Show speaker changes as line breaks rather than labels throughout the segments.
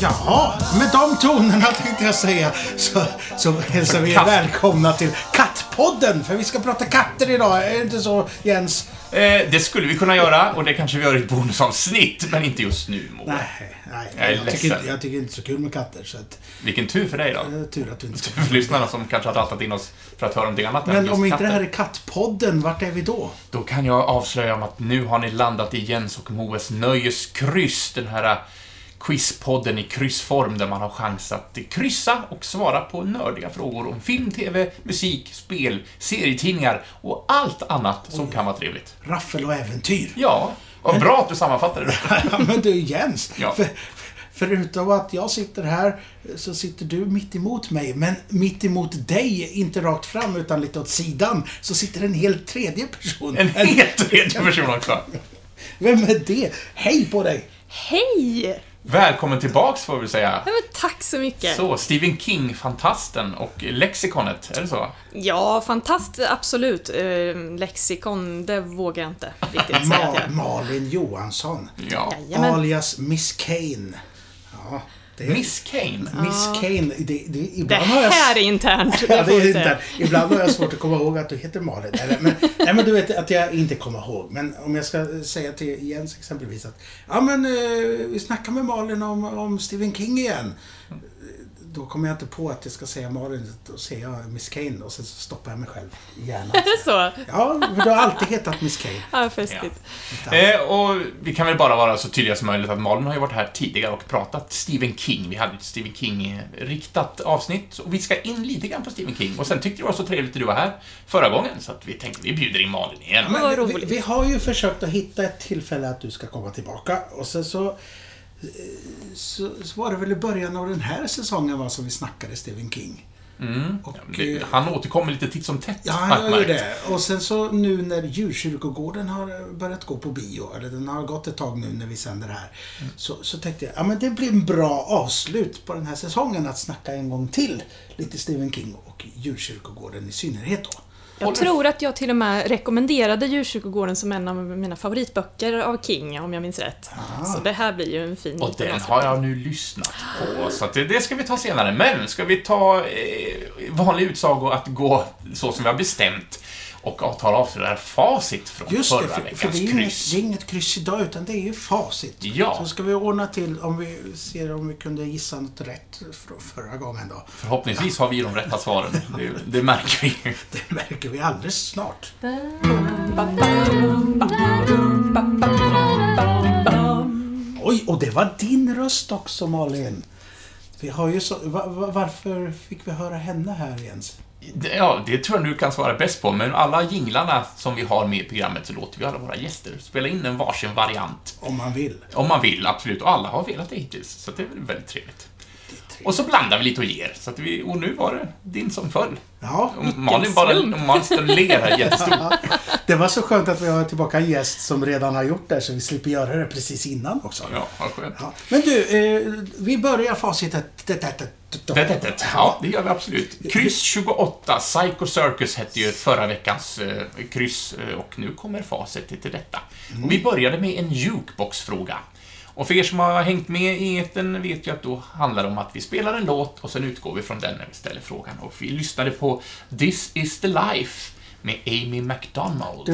Jaha, med de tonerna tänkte jag säga så, så hälsar vi er
Katt.
välkomna till Kattpodden. För vi ska prata katter idag, är det inte så Jens?
Eh, det skulle vi kunna göra och det kanske vi gör i ett bonusavsnitt, men inte just nu, Moe.
Nej, nej.
Jag är
Jag tycker,
ledsen.
inte- jag tycker inte så kul med katter så att,
Vilken tur för dig då.
eh, tur att du inte ska.
För lyssnarna som kanske har rattat in oss för att höra någonting annat än
Men
just
om inte det
katter.
här är Kattpodden, vart är vi då?
Då kan jag avslöja om att nu har ni landat i Jens och Moes nöjeskryss, den här quizpodden i kryssform där man har chans att kryssa och svara på nördiga frågor om film, TV, musik, spel, serietidningar och allt annat som kan vara trevligt.
Raffel och äventyr.
Ja, vad bra att du sammanfattade det.
Ja, men du Jens.
Ja.
För, förutom att jag sitter här så sitter du mitt emot mig. Men mitt emot dig, inte rakt fram utan lite åt sidan, så sitter en helt tredje person.
En helt tredje person också.
Vem är det? Hej på dig!
Hej!
Välkommen tillbaks får vi säga.
Ja, men tack så mycket.
Så, Stephen King, Fantasten och Lexikonet, är det så?
Ja, fantast, absolut. Eh, lexikon, det vågar jag inte riktigt säga att
Ma-
jag...
Malin Johansson.
Ja.
Jajamän.
Alias Miss Kane. Ja, det är
Miss Kane.
Miss Kane. Det, det,
Ah. Det
ibland har jag...
här är internt, det
Ja,
får
det är
vi säga.
inte. Ibland har jag svårt att komma ihåg att du heter Malin. Eller, men, nej, men du vet att jag inte kommer ihåg. Men om jag ska säga till Jens exempelvis att ja, men eh, vi snackar med Malin om, om Stephen King igen. Då kommer jag inte på att jag ska säga Malin. Då säger jag Miss Kane och sen så stoppar jag mig själv i hjärnan.
Är det så?
Ja, för du har alltid hetat Miss Kane.
Ja, festligt.
Eh, och vi kan väl bara vara så tydliga som möjligt att Malin har ju varit här tidigare och pratat Stephen King. Vi hade ett Stephen King-riktat avsnitt och vi ska in lite grann på Stephen King. Och sen tyckte det var så trevligt att du var här förra gången så att vi tänkte vi bjuder in Malin igen.
men- Vad
vi,
roligt.
vi har ju försökt att hitta ett tillfälle att du ska komma tillbaka. Och sen så, eh, så, så var det väl i början av den här säsongen va, som vi snackade Stephen King. Och,
Det-
eh,
Han återkommer lite titt som tätt,
ja,
har
han
jag
gör ju
märkt.
det. Och sen så nu när Djurkyrkogården har börjat gå på bio, eller den har gått ett tag nu när vi sänder här, så, så tänkte jag ja men det blir en bra avslut på den här säsongen att snacka en gång till lite Stephen King och Djurkyrkogården i synnerhet då.
Jag tror att jag till och med rekommenderade Djurkyrkogården som en av mina favoritböcker av King, om jag minns rätt. Så det här blir ju en fin
Och
liten
den
avslutning.
har jag nu lyssnat på, så att det, det ska vi ta senare. Men ska vi ta eh, vanlig utsago att gå så som vi har bestämt och att ta avslöjar facit från
Just
förra
det, för,
veckans
för det, är ju inget,
kryss.
det är inget kryss idag utan det är ju facit.
Ja.
Så ska vi ordna till om vi ser om vi kunde gissa något rätt från förra gången då.
Förhoppningsvis har vi de rätta svaren. Det, det märker vi.
Det märker vi alldeles snart. Oj, och det var din röst också Malin. Vi har ju så, va, va, varför fick vi höra henne här Jens?
Det- Ja, det tror jag du kan svara bäst på, men alla jinglarna som vi har med i programmet så låter vi alla våra gäster spela in en varsin variant.
Om man vill.
Om man vill, absolut. Och alla har velat det hittills, så det är väl väldigt trevligt. Och så blandar vi lite och ger, så att vi, och nu var det din som föll.
Ja,
Om Malin bara
slump.
om Malin står och ler här jättestort.
det var så skönt att vi har tillbaka en gäst som redan har gjort det så vi slipper göra det precis innan också.
Ja, vad skönt.
Ja. Men du, eh, vi börjar facitet. Det, det, det,
Det, det, det. Ja, det gör vi absolut. Kryss 28, Psycho Circus hette ju förra veckans eh, kryss eh, och nu kommer facit till detta. Och vi började med en jukeboxfråga. Och för er som har hängt med i etern vet ju att då handlar det om att vi spelar en låt och sen utgår vi från den när vi ställer frågan. Och vi lyssnade på This is the life med Amy McDonald.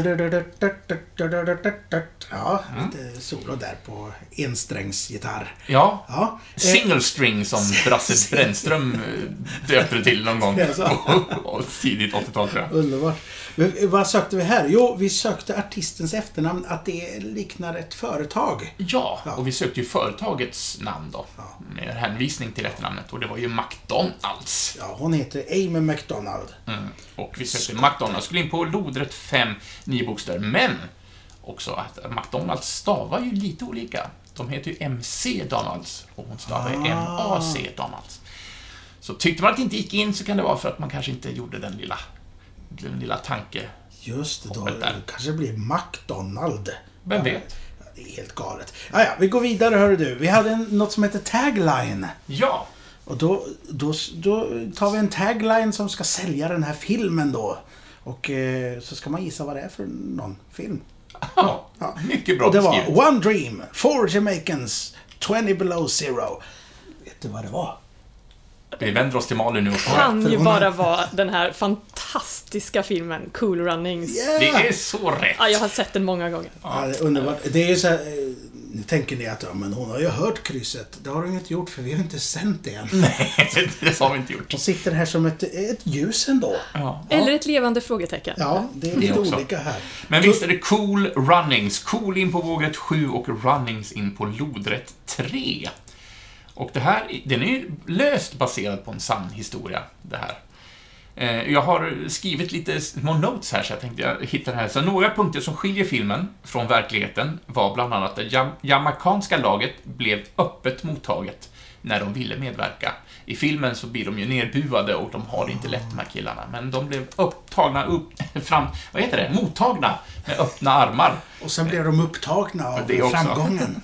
Ja, lite solo där på ensträngsgitarr.
Ja.
Ja, eh,
Single string som Brasse Brännström eh, döpte det till någon gång
Det är så.
på tidigt 80-tal tror jag.
underbart. Men, eh, vad sökte vi här? Jo, vi sökte artistens efternamn, att det liknar ett företag.
Ja, och vi sökte ju företagets namn då, med hänvisning till efternamnet, och det var ju McDonalds.
Ja, hon heter Amy McDonald.
Mm. Och vi sökte McDonalds, skulle in på lodrätt 5, 9 bokstäver, men också att McDonalds stavar ju lite olika. De heter ju MC Donalds, och hon stavar ju
Ah.
MAC Donalds. Så tyckte man att det inte gick in så kan det vara för att man kanske inte gjorde den lilla, den lilla tanke...
Just det, då
Hoppet där.
kanske det blir McDonald.
Vem vet?
Ja, Det är helt galet. Ja, ja, vi går vidare hörru du. Vi hade en, något som heter tagline.
Ja,
Och då, då, då tar vi en tagline som ska sälja den här filmen då. Och eh, så ska man gissa vad det är för någon film.
ja. mycket bra
Och det var
beskrivet.
One Dream, Four Jamaicans, 20 Below Zero. inte vad det var.
Vi vänder oss till Malin nu. och-
Kan
för
ju
hon har-
bara vara den här fantastiska filmen Cool Runnings.
Yeah!
Det är så rätt.
Ja, jag har sett den många gånger.
Ja, det är underbart. Det är ju så här, eh, nu tänker ni att ja, men hon har ju hört krysset. Det har hon ju inte gjort för vi har ju inte sänt det
Mm.
än.
Nej, det har vi inte gjort.
Hon sitter här som ett, ett ljus ändå.
Ja.
Eller ett levande frågetecken.
Ja, det är lite
också.
olika här.
Men visst är det cool runnings. Cool in på vågrätt 7 och runnings in på lodrätt 3. Och det här, den är ju löst baserad på en sann historia, det här. Eh, Jag har skrivit lite små notes här, så jag tänkte jag hittar det här. Så några punkter som skiljer filmen från verkligheten var bland annat att det jam- jamaicanska laget blev öppet mottaget när de ville medverka. I filmen så blir de ju nerbuade och de har det inte lätt, de här killarna. Men de blev upptagna, upp, fram, vad heter det, mottagna med öppna armar.
Och sen blir de upptagna av
Det också.
framgången.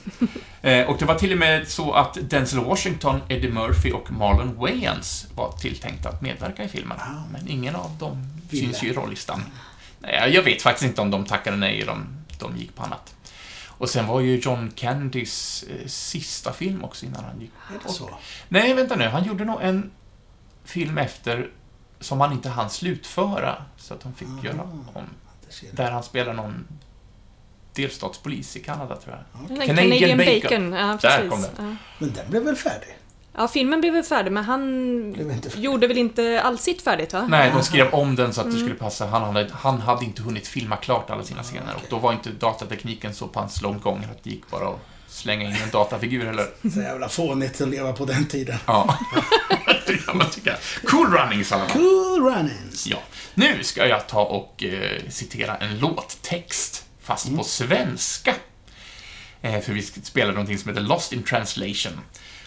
Eh, Och det var till och med så att Denzel Washington, Eddie Murphy och Marlon Wayans var tilltänkta att medverka i filmen. Men ingen av dem
Ville.
syns ju i rollistan. Nej, Jag vet faktiskt inte om de tackade nej eller om de gick på annat. Och sen var ju John Candys eh, sista film också innan han gick
Är det så?
Nej, vänta nu. Han gjorde nog en film efter som han inte hann slutföra, så att de fick göra om.
Det ser jag.
Där han spelar någon delstatspolis i Kanada, tror jag.
Den där
Canadian
Canadian
Bacon.
Bacon. Ja,
Där
precis.
kom den.
Ja.
Men den blev väl färdig?
ja, filmen blev väl färdig, men
Blev
han
inte färdig.
gjorde väl inte alls sitt färdigt, va?
Nej, de skrev om den så att det skulle passa. Han hade, han hade inte hunnit filma klart alla sina scener och då var inte datatekniken så pass långt gången att det gick bara att slänga in en datafigur eller...
Så jävla fånigt att leva på den tiden.
Ja. det kan man tycka. Cool runnings, alla fall.
Cool runnings.
Ja. Nu ska jag ta och eh, citera en låttext, fast på svenska. Eh, för vi ska- spelar någonting som heter Lost in translation.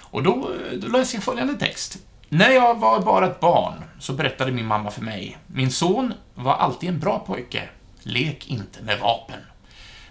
Och då, eh, då läser jag följande text. När jag var bara ett barn så berättade min mamma för mig. Min son var alltid en bra pojke. Lek inte med vapen.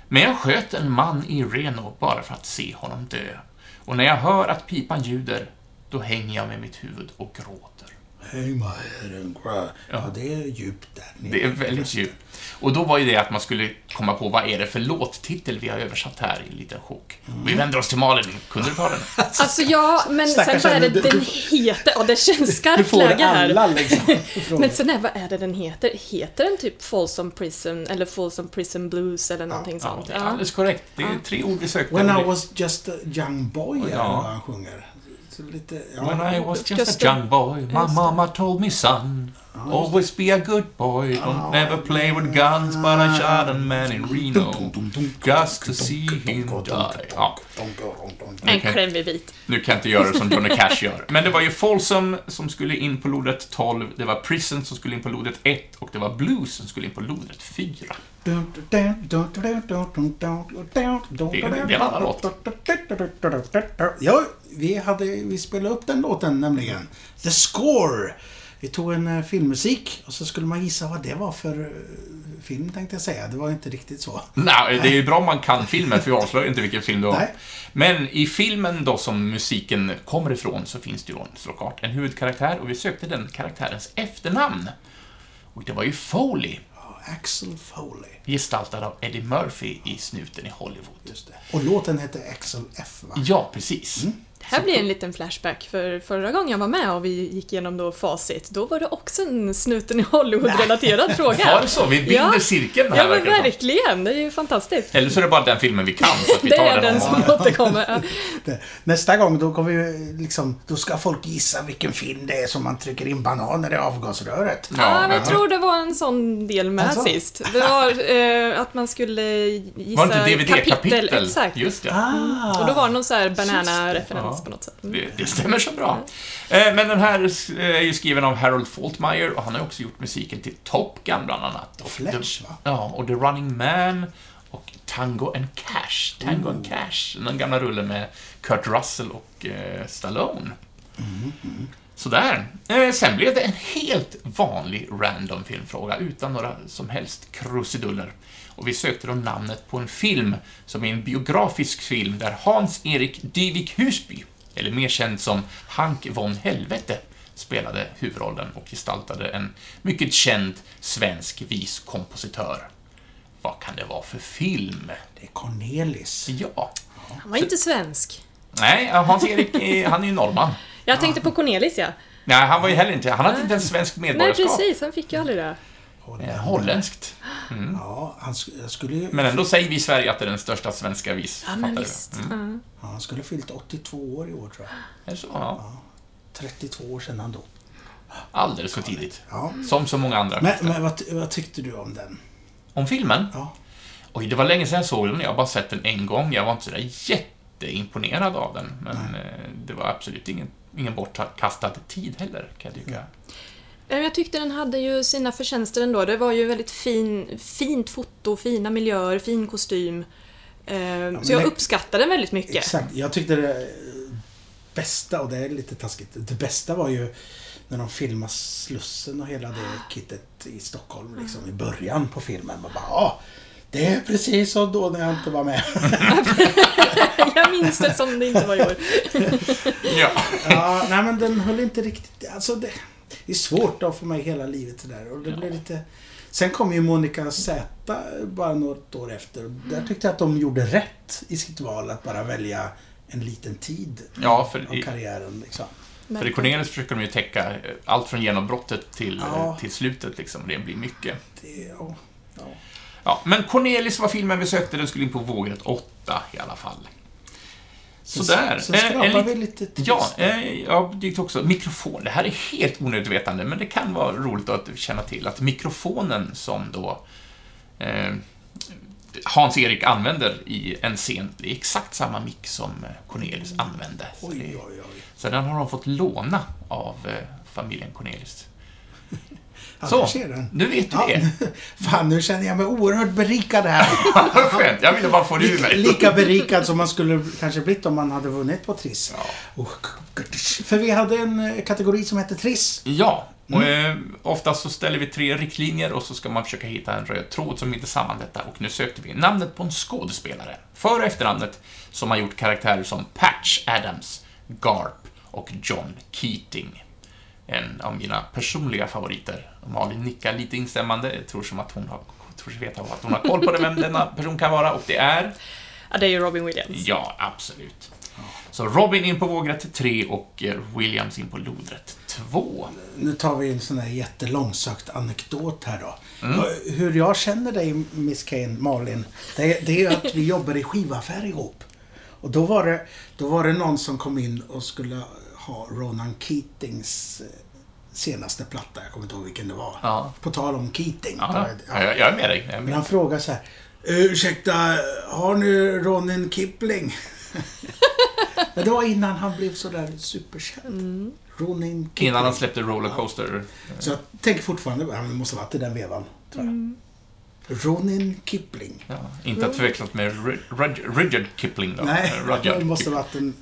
Men jag sköt en man i Reno bara för att se honom dö. Och när jag hör att pipan ljuder, då hänger jag med mitt huvud och gråter.
Hey my head and cry. Ja, det är djupt där nere.
Det är väldigt djupt. Och då var ju det att man skulle komma på vad är det för låttitel vi har översatt här i en liten chock. Vi vänder oss till Malin. Kunde du ta den?
Alltså, ja, men sen
Stackars
vad är det
henne, du-
den heter? Ja, det känns skarpt läge här.
liksom.
Men sen är, vad är det den heter? Heter den typ Folsom Prison eller Folsom Prison Blues eller någonting
Ja,
sånt?
det är
Ja.
alldeles korrekt. Det är tre ord vi sökte.
When I
Och det-
was just a young boy, eller
Ja.
vad han sjunger. Så lite, ja.
When I was just
Just
a
a-
young boy, my mama told me son Always be a good boy, don't never play with guns But I shot a man in Reno just to see him die ja.
En
Okej.
klämmig bit.
Nu kan jag inte göra som Johnny Cash gör. Men det var ju Folsom som skulle in på lodrätt 12, det var Prison som skulle in på lodrätt 1 och det var Blues som skulle in på lodrätt 4. är en annan låt.
Ja, vi, hade, vi spelade upp den låten nämligen. The Score. Vi tog en eh, filmmusik och så skulle man gissa vad det var för eh, film tänkte jag säga. Det var inte riktigt så.
Nej, det är ju bra om man kan filmen, för vi avslöjar inte vilken film det var.
Nej.
Men i filmen då som musiken kommer ifrån så finns det ju såklart en huvudkaraktär och vi sökte den karaktärens efternamn. Och det var ju Foley,
Ja, Axel Foley.
gestaltad av Eddie Murphy i Snuten i Hollywood.
Just det. Mm. Och låten hette Axel F va?
Ja, precis.
Det här blir en liten flashback för förra gången jag var med och vi gick igenom då facit, då var det också en snuten i Hollywood-relaterad fråga.
Var det så? Vi binder
Ja.
cirkeln här
Ja men
verkar det som.
verkligen, det är ju fantastiskt.
Eller så är det bara den filmen vi kan, så att vi
Det
tar
är den
den.
som återkommer. Ja.
Det- Nästa gång då kommer vi liksom, då ska folk gissa vilken film det är som man trycker in bananer i avgasröret.
Ja, men
ja.
jag tror det var en sån del med
Alltså?
sist. Det var eh, att man skulle
Var
gissa
det inte DVD-kapitel?
Exakt.
Just det.
Ah,
Och då var det någon sån här banana-referens
Ja.
på något sätt. Mm.
Det, det stämmer så bra. Eh, Men den här eh, är ju skriven av Harold Faltmeyer och han har ju också gjort musiken till Top Gun bland annat. Och
Fletch,
The,
va?
Ja, och The Running Man och Tango and Cash. Tango and Cash, den gamla rullen med Kurt Russell och eh, Stallone. Sådär. Eh, Sen blev det en helt vanlig random filmfråga utan några som helst krusiduller. Och vi sökte då namnet på en film som är en biografisk film där Hans-Erik Dyvik Husby, eller mer känd som Hank von Helvete, spelade huvudrollen och gestaltade en mycket känd svensk viskompositör. Vad kan det vara för film?
det är Cornelis.
Ja,
Han var inte svensk.
Nej, Hans-Erik är- han är ju norrman.
Jag tänkte
Ah.
på Cornelis, ja.
Nej, han var ju heller inte... Han hade inte ens svensk
Nej,
medborgarskap.
precis. Han fick ju aldrig det.
Eh, Holländskt.
Ja, han sk- jag skulle ju...
Men ändå säger vi i Sverige att det är den största svenska
Ja, men
visförfattaren.
visst.
Mm.
Ja.
Ja, han skulle ha fyllt 82 år i år, tror jag.
Är det så? Ja.
32 år sedan han dog.
Alldeles för tidigt.
Ja.
Som så många andra.
Men, men vad, ty- vad tyckte du om den?
Om filmen?
Ja.
Oj, det var länge sedan jag såg den. Jag har bara sett den en gång. Jag var inte sådär jätteimponerad av den. Men eh, det var absolut ingen, ingen bortkastad tid heller, kan jag tycka.
Eh, Jag tyckte den hade ju sina förtjänster ändå. Det var ju väldigt fin, fint foto, fina miljöer, fin kostym. Eh, så jag
det-
uppskattade den väldigt mycket.
Exakt. Jag tyckte det eh, bästa, och det är lite taskigt, det bästa var ju när de filmar Slussen och hela det kittet i Stockholm liksom i början på filmen. Man bara ja, det är precis som då när jag inte var med.
jag minns det som det inte var i år.
Ja.
ja, nej men den höll inte riktigt, alltså det, det är svårt att få med hela livet det där och det blev lite... Sen kom ju Monica Z bara något år efter och där tyckte jag att de gjorde rätt i sitt val att bara välja en liten tid
Ja, för
av
i-
karriären liksom.
För i Cornelis försöker de ju täcka eh, allt från genombrottet till, eh,
Ja.
till slutet. Liksom. Det blir mycket.
Det, ja, ja.
Ja, men Cornelis var filmen vi sökte. Den skulle in på vågrätt 8 i alla fall. Sådär.
Sen
Eh, en
skrapar
lit-
vi lite till.
Ja, eh, jag dykt också. Mikrofon. Det här är helt onödigt vetande, men det kan vara roligt att känna till att mikrofonen som då eh, Hans-Erik använder i en scen, det är exakt samma mick som eh, Cornelis använde. Så det-
Oj, oj, oj.
så den har de fått låna av eh, familjen Cornelis.
Ja,
Så,
där ser den.
nu vet du
Ja,
det.
fan, nu känner jag mig oerhört berikad här.
Vad skönt, jag ville bara få det ur mig.
Lika berikad som man skulle kanske blivit om man hade vunnit på Triss. Och- För vi hade en eh, kategori som hette Triss.
Ja, och eh, oftast så ställer vi tre riktlinjer och så ska man försöka hitta en röd tråd som inte samman detta. Och nu sökte vi namnet på en skådespelare, före och efternamnet, som har gjort karaktärer som Patch Adams, Garp och John Keating. En av mina personliga favoriter. Malin nickar lite instämmande, jag tror som att hon har tror sig veta att hon har koll på det, vem denna person kan vara, och det är...
Ja, det är ju Robin Williams.
Ja, absolut. Så Robin in på vågrätt 3 och eh, Williams in på lodrätt 2.
Nu tar vi en sån här jättelångsökt anekdot här då.
Mm.
Och Hur jag känner dig, Miss Kane, Malin, det, det är ju att vi jobbar i skivaffär ihop. Och då var, det, då var det någon som kom in och skulle ha Ronan Keatings eh, senaste platta, jag kommer inte ihåg vilken det var.
Ja.
På tal om Keating.
Ja,
Ja.
ja, jag jag är med dig. Jag är
Men
med.
han frågar så här. Ursäkta, har ni Ronin Kipling? Men det var innan han blev sådär superkänd. Ronin Kipling.
Mm. Innan han släppte Rollercoaster.
Så jag tänker fortfarande, han måste ha varit i den vevan, tror jag. Ronin Kipling.
Ja, inte att förväxlas med Ri- Rud- Rudyard Kipling då.
Mm. Nej,
Eh,
det
Rudyard
måste
Kipling.
ha varit en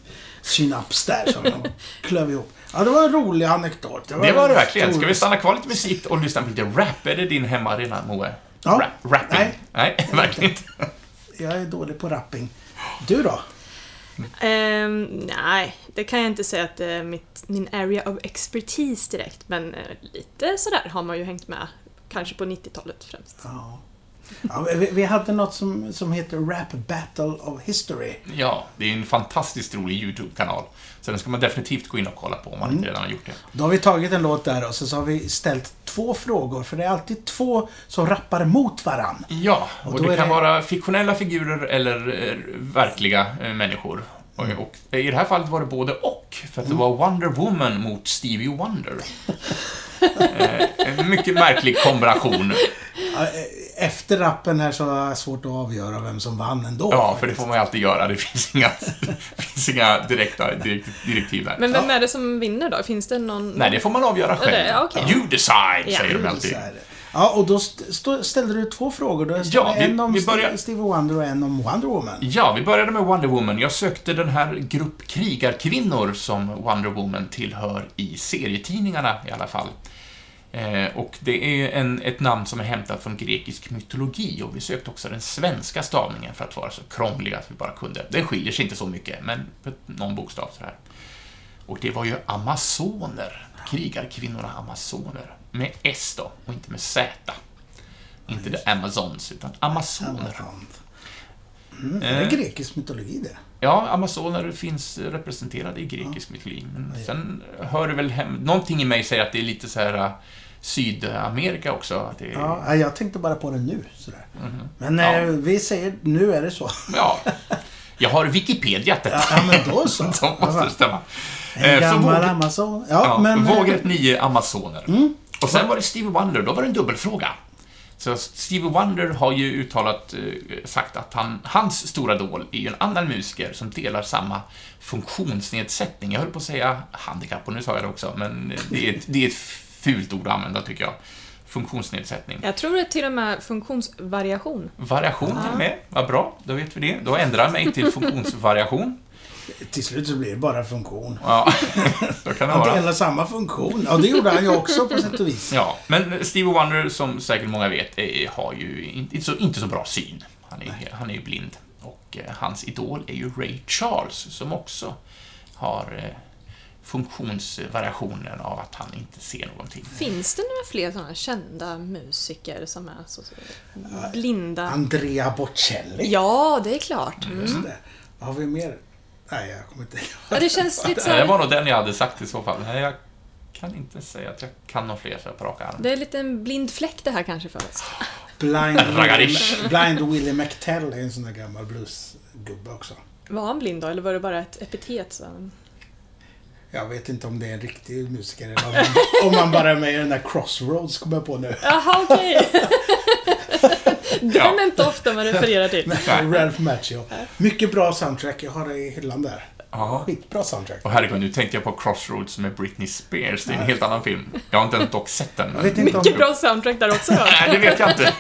synaps där som de klöv ihop. Ja, det var en rolig anekdot.
Det var det verkligen.
stor-
Ska vi stanna kvar lite musik och lyssna på lite rap? Är det din hemmaarena, Moe?
Ja.
Rap, rapping?
Nej.
Nej, verkligen inte.
Jag är dålig på rapping. Du då?
Ehm, nej, det kan jag inte säga att det är mitt, min area of expertise direkt, men eh, lite sådär har man ju hängt med. Kanske på 90-talet främst.
Ja. Ja, vi, vi hade något som, som heter Rap Battle of History.
Ja, det är ju en fantastiskt rolig YouTube-kanal. Så den ska man definitivt gå in och kolla på om man
Mm.
inte redan har gjort det.
Då har vi tagit en låt där och så, så har vi ställt två frågor, för det är alltid två som rappar mot varann.
Ja, och,
då
det
är
kan
det-
vara fiktionella figurer eller eh, verkliga eh, människor. Och,
Mm.
och i det här fallet var det både och, för att det var Wonder Woman mot Stevie Wonder. eh, en mycket märklig kombination.
Ja, eh, Efter rappen här så har jag svårt att avgöra vem som vann ändå.
Ja, för det får man ju alltid göra. Det finns inga, det finns inga direkta direkt, direktiv där.
Men vem är det som vinner då? Finns det någon...
Nej, det får man avgöra själv.
det- ja, okej.
You decide,
Ja.
säger de
Så
alltid.
är det. Ja, och då st- stå- ställde du två frågor. Då ställde
typ. Ja, vi-
en om
vi
Ste-
börjar-
Stevie Wonder och en om Wonder Woman.
Ja, vi började med Wonder Woman. Jag sökte den här grupp krigarkvinnor som Wonder Woman tillhör i serietidningarna i alla fall. Eh, och det är ju en, ett namn som är hämtat från grekisk mytologi och vi sökte också den svenska stavningen för att vara så krångliga som vi bara kunde. Det skiljer sig inte så mycket, men på någon bokstav sådär. Och det var ju amazoner, krigarkvinnorna amazoner, med S då, och inte med Z. Inte the Amazons, utan amazoner.
Mm, det är
Eh.
grekisk mytologi det.
Ja, amazoner finns representerade i grekisk mytologi. Men sen hör det väl hem... Någonting i mig säger att det är lite så här äh, Sydamerika också. Att det är,
Ja, nej, jag tänkte bara på det nu. Sådär. Men
Mhm. Ja.
eh, vi säger, nu är det så.
ja. Jag har Wikipedia detta.
Ja, men då så.
De måste stämma.
En
Eh, så
gammal
våg-
Amazon. Ja,
Ja,
men... eh, Mm.
Vågrätt 9 Amazoner. Och sen var det Stevie Wonder, då var det en dubbelfråga. Så Stevie Wonder har ju uttalat, eh, sagt att han, hans stora idol är ju en annan musiker som delar samma funktionsnedsättning. Jag höll på att säga handikapp, och nu sa jag det också, men eh, det är ett, det är ett fult ord att använda, tycker jag. Funktionsnedsättning.
Jag tror det är till och med funktionsvariation.
Variation till och med, vad bra, då vet vi det. Då ändrar jag mig till funktionsvariation.
eh, Till slut så blir det bara funktion.
Ja, så kan det
Han
vara.
delar samma funktion. Ja, det gjorde han ju också på sätt och vis.
Ja, men Stevie Wonder, som säkert många vet, eh, har ju inte så, inte så bra syn. Han är, han är ju blind. Och eh, hans idol är ju Ray Charles, som också har eh, funktionsvariationen av att han inte ser någonting.
Finns det några fler sådana kända musiker som är så, så blinda?
Andrea Bocelli.
Ja, det är klart. Mm.
Just det. Vad har vi mer? Nej, jag kommer inte
Ja, det känns lite
Eh, Det här
så
var nog den jag hade sagt i så fall. Nej, jag kan inte säga att jag kan några fler så jag på rak arm.
Det är lite en blind fläck det här kanske för oss.
Blind,
Raggadish.
Blind Willie McTell är en sån där gammal bluesgubbe också.
Var han blind då, eller var det bara ett epitet? Så?
Jag vet inte om det är en riktig musiker eller om han, om han bara är med i den där Crossroads, kommer jag på nu.
Jaha, okej. Den
Ja.
är inte ofta man refererar till.
Ralph Macchio. Mycket bra soundtrack, jag har det i hyllan där.
Ja.
Skitbra soundtrack.
Och herregud, nu tänkte jag på Crossroads med Britney Spears. Det är en helt annan film. Jag har inte ens dock sett den. men-
vet inte om-
Mycket bra soundtrack där också då.
Nej, det vet jag inte.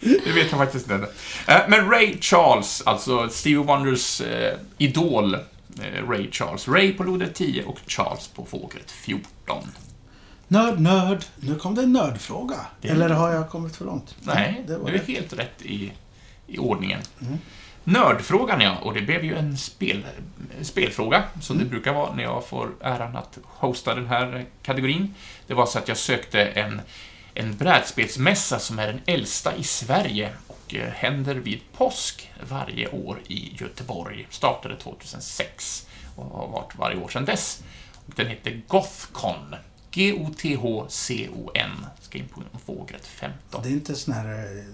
Det vet jag faktiskt inte. Eh, Men Ray Charles, alltså Stevie Wonders eh, idol eh, Ray Charles. Ray på loder 10 och Charles på fåglet 14.
Nörd, nörd. Nu kom det en nördfråga. Eller har jag kommit för långt?
Nej,
det var
du är
det.
helt rätt i, i ordningen. Nördfrågan, ja. Och det blev ju en spel, spelfråga, som det brukar vara när jag får äran att hosta den här kategorin. Det var så att jag sökte en, en brädspelsmässa som är den äldsta i Sverige och eh, händer vid påsk varje år i Göteborg. Startade 2006 och har varit varje år sedan dess. Och Den heter Gothcon. G-O-T-H-C-O-N. Ska in på Vågrätt 15.
Det är inte sån här... eh,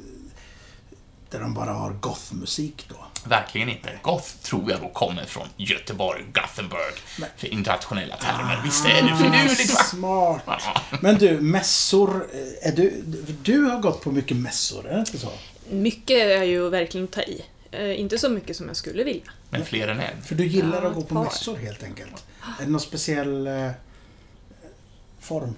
Där de bara har gothmusik då.
Verkligen inte. Goth tror jag då kommer från Göteborg, Gothenburg, för internationella termer. Visst är det finurligt va?
Smart. Men du, mässor. eh, Är du, du har gått på mycket mässor, är det inte så?
Mycket är ju verkligen att ta i. Eh, inte så mycket som jag skulle vilja.
Men fler än en.
För du gillar
Ja,
att gå
ett
på
par.
mässor helt enkelt. Är det någon speciell eh, form?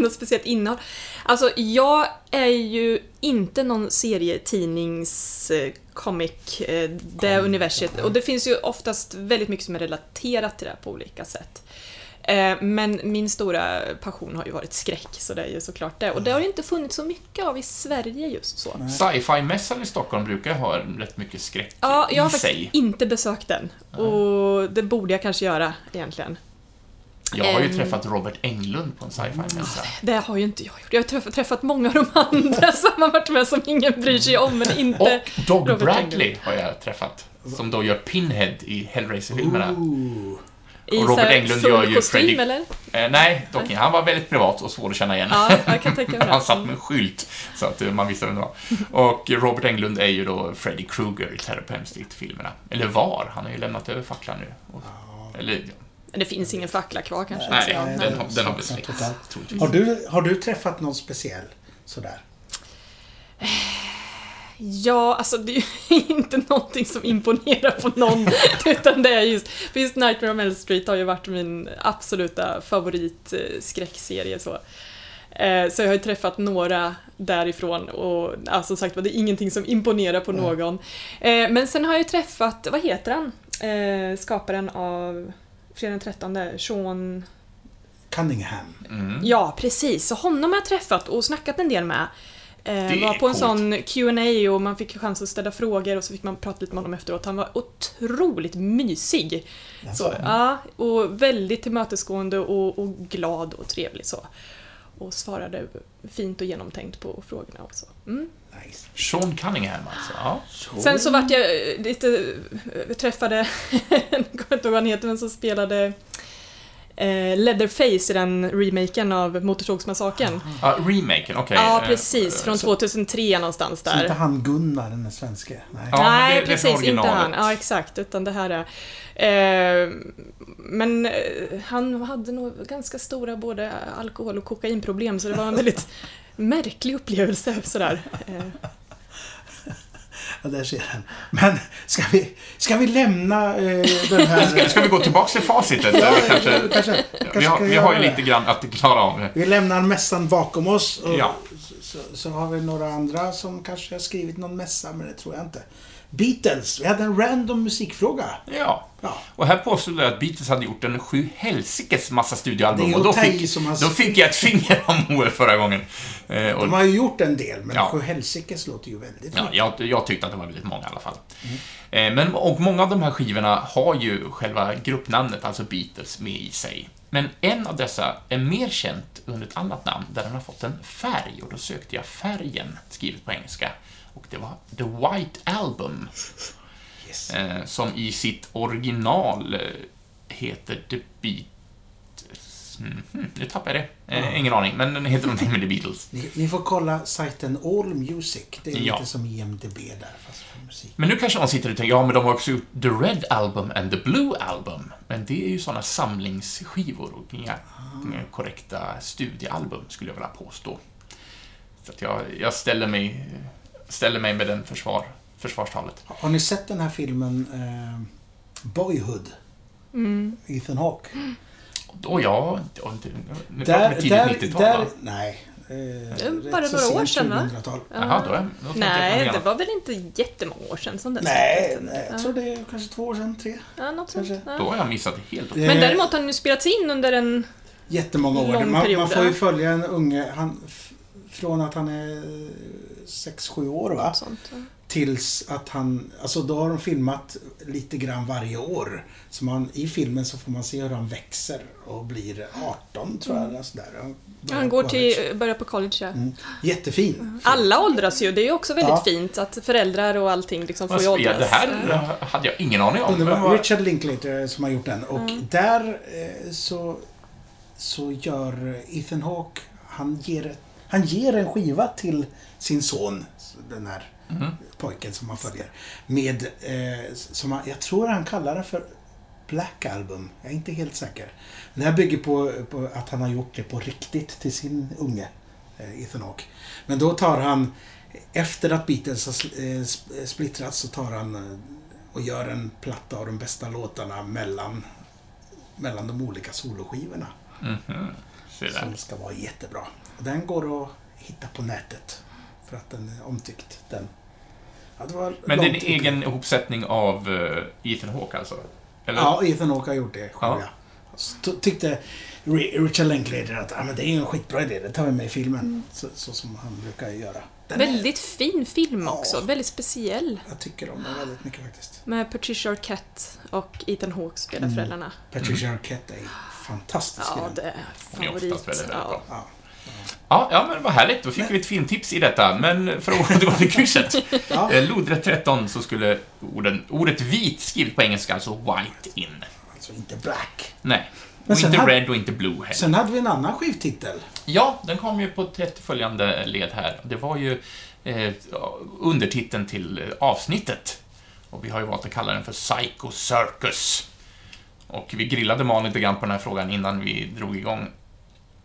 Något speciellt innehåll. Alltså, jag är ju inte någon serietidnings eh, comic, eh, det universitet. Och det finns ju oftast väldigt mycket som är relaterat till det här på olika sätt. Eh, Men min stora passion har ju varit skräck, så det är ju såklart det. Och det har ju inte funnits så mycket av i Sverige just så.
Sci-fi-mässan i Stockholm brukar ha rätt mycket skräck
Ja, jag har
i
faktiskt
sig.
inte besökt den. Och det borde jag kanske göra egentligen.
Jag har ju
Ehm.
träffat Robert Englund på en sci-fi-mässa.
Det har ju inte jag gjort. Jag har träffat, träffat många av de andra som har varit med som ingen bryr sig om, men inte...
Och Doug
Robert
Bradley har jag träffat, som då gör Pinhead i Hellraiser-filmerna.
Ooh.
I
Robert
så här
Englund
full
gör ju
kostym,
Fredrik-
eller?
Eh, nej, dock inte. Han var väldigt privat och svår att känna igen.
Ja, jag kan tänka mig det.
Han satt med en skylt, så att eh, man visste vem det var. Och Robert Englund är ju då Freddy Krueger i Terror på Elm Street-filmerna. Eller var, han har ju lämnat över facklan nu. Och, eller, ja,
Men det finns ingen fackla kvar kanske.
nej,
så jag-
den, har- den har väl
saknar
släckts,
totalt.
troligtvis.
Har du, har du träffat någon speciell? Sådär.
Ja, alltså det är ju inte någonting som imponerar på någon. utan det är just, för just Nightmare on Elm Street har ju varit min absoluta favoritskräckserie. Så. Eh, så jag har ju träffat några därifrån och ja, som sagt var, det är ingenting som imponerar på någon. Eh, men sen har jag ju träffat, vad heter han? Eh, skaparen av Fredag den 13, Sean...
Cunningham.
Mm.
Ja, precis. Så honom har jag träffat och snackat en del med.
Det
Eh,
är
var på en
coolt.
sån Q&A och man fick chans att ställa frågor och så fick man prata lite med honom efteråt. Han var otroligt mysig. Så, ja, och väldigt tillmötesgående och, och glad och trevlig så. Och svarade fint och genomtänkt på frågorna och så. Mm.
Nice.
Sean Cunningham alltså. Ja.
Sen så vart jag eh, lite... eh, träffade... jag kommer inte ihåg vad han heter, men som spelade eh, Leatherface i den remaken av Motorsågsmassakern.
Ja, remaken, okej.
Ja,
Eh,
precis. Från
så-
2003 någonstans
Så inte
där.
han Gunnar, den där svenske? Nej.
Ja. men det-
Nej,
det är från
precis. Inte han.
originalet.
Ja, exakt. Utan det här är... Eh, men eh, han hade nog ganska stora både alkohol och kokainproblem, så det var en väldigt märklig upplevelse. Sådär. Eh,
Ja, där ser han. Men ska vi, ska vi lämna eh, den här...
Ska vi gå tillbaka till facitet? Eller kanske,
kanske,
vi,
ska
har, vi
göra
har ju
det.
lite grann att klara av.
Vi lämnar mässan bakom oss. Och
Ja.
så, så har vi några andra som kanske har skrivit någon mässa, men det tror jag inte. Beatles. Vi hade en random musikfråga.
Ja.
Ja.
Och här påstod jag att Beatles hade gjort en sju helsikes massa
Det
studioalbum
är
och då
okej
fick,
som man-
då fick jag ett finger om OF förra gången. Eh, och,
De har ju gjort en del, men
Ja.
Sjuhelsikes låter ju väldigt
ja, jag, jag tyckte att det var väldigt många i alla fall. Eh, men, och många av de här skivorna har ju själva gruppnamnet, alltså Beatles, med i sig. Men en av dessa är mer känt under ett annat namn, där den har fått en färg, och då sökte jag färgen, skrivet på engelska. Och det var The White Album.
Yes.
Eh, som i sitt original eh, heter The Beatles. Mhm, nu tappade jag det. Eh, Ingen aning, men den heter någonting med The Beatles.
Ni, ni får kolla sajten All Music. Det är
Ja.
lite som IMDB där, fast för musik.
Men nu kanske någon sitter och tänker, ja men de har också gjort The Red Album and The Blue Album. Men det är ju sådana samlingsskivor och inga
Ah.
inga korrekta studiealbum, skulle jag vilja påstå. Så att jag, jag ställer, mig, ställer mig med den försvar, försvarstalet.
Har ni sett den här filmen eh, Boyhood?
Mm.
Ethan Hawke.
Och ja, och inte- nu pratar vi
Där,
tidigt
där,
90-tal va?
där, nej. Eh, rätt
bara
så
några år
sent
sedan, va?
2000-tal.
Jaha, då, är- då tänkte jag på något
Ah. Eh, Nej, det
annat.
var väl inte jättemånga år sedan som den
Nej,
släpptes.
nej, jag tror det är kanske två år sedan, tre.
Ja, något sånt.
Kanske.
Då
Ja.
har jag missat det helt.
Eh,
Men däremot har den ju spelats in under en...
Jättemånga år.
lång
Man, man
period,
får ju
ja.
följa en unge han, f- från att han är 6-7 år va?
Sånt.
Tills att han, alltså då har de filmat lite grann varje år. Så man, i filmen så får man se hur han växer och blir 18 tror jag. Eller sådär. Han
Ja.
börjar
Mm. Han går
på
till, börjar på college, ja.
Mm. Jättefin. film.
Alla åldras ju, det är ju också väldigt
Ja.
fint att föräldrar och allting liksom får ju
Vad spel-
åldras.
det här hade jag ingen aning om.
Underbar.
Men vad-
Richard Linklater eh, som har gjort den. Och där eh, så, så gör Ethan Hawke, han ger, han ger en skiva till sin son, den här
Mm.
pojken som han följer. Med, eh, som han, jag tror han kallar den för Black Album, jag är inte helt säker. Det här bygger på, på att han har gjort det på riktigt till sin unge, eh, Ethan Hawke. Men då tar han, efter att Beatles har sl- eh, sp- eh, splittrats, så tar han eh, och gör en platta av de bästa låtarna mellan, mellan de olika soloskivorna.
Mhm. Se där.
Som ska vara jättebra. Och den går att hitta på nätet. För att den är omtyckt. Den. Ja, det var
Men det är en
långt ut.
egen ihopsättning av eh, Ethan Hawke alltså? Eller?
Ja, Ethan Hawke har gjort det själv,
Ja.
ja. Så ty- tyckte Ri- Richard Linklater att ah, men det är ju en skitbra idé, det tar vi med i filmen.
Mm.
Så, så som han brukar göra. Den,
Väldigt fin film
Ja.
också, väldigt speciell.
jag tycker
Ah.
om den väldigt mycket faktiskt.
Med Patricia Arquette och Ethan Hawke spelar
Mm.
föräldrarna.
Patricia Arquette är fantastisk i
Ja,
den.
det är
Hon är oftast
favorit.
väldigt, väldigt bra.
Ja.
Ja.
Ja, ja, men vad härligt. Då fick vi ett filmtips i detta. Men för att återgå till krysset.
Ja.
Eh, Lodrätt 13 så skulle orden, ordet vit skrivet på engelska, alltså white in.
Alltså inte black.
Nej.
Men
Och
sen
inte
hade-
red och inte blue heller.
Sen hade vi en annan skivtitel.
Ja, den kom ju på ett följande led här. Det var ju eh, undertiteln till eh, avsnittet. Och vi har ju valt att kalla den för Psycho Circus. Och vi grillade Malin lite grann på den här frågan innan vi drog igång.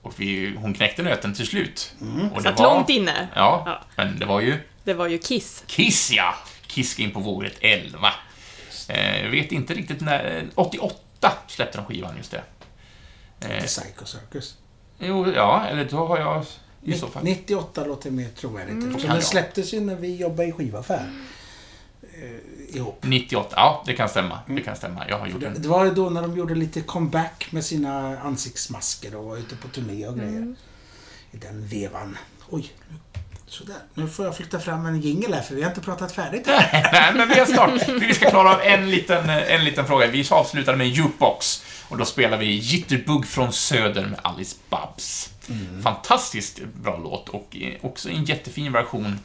Och vi, hon knäckte nöten till slut.
Mm.
Och
Satt långt inne.
Ja,
Ja.
men det var ju
Det var ju Kiss.
Kiss, ja! Kiss ska in på våret 11. Eh, jag vet inte riktigt när... 88 släppte de skivan, just det.
The
Eh,
Psycho Circus.
jo, ja, eller då har jag... I så fall.
98 låter mer trovärdigt. Mm.
Kan
Den
jag.
släpptes ju när vi jobbade i skivaffär. Eh, ihop.
98, ja det kan stämma. Det kan stämma. Jag har gjort en...
Det var ju då när de gjorde lite comeback med sina ansiktsmasker och var ute på turné och grejer. I den vevan. Oj, nu, sådär. Nu får jag flytta fram en jingel här för vi har inte pratat färdigt här.
Nej, men vi är snart. Vi ska klara av en liten, en liten fråga. Vi avslutar med en jukebox. Och då spelar vi Jitterbug från Söder med Alice
Mm.
Babs. Fantastiskt bra låt och eh, också en jättefin version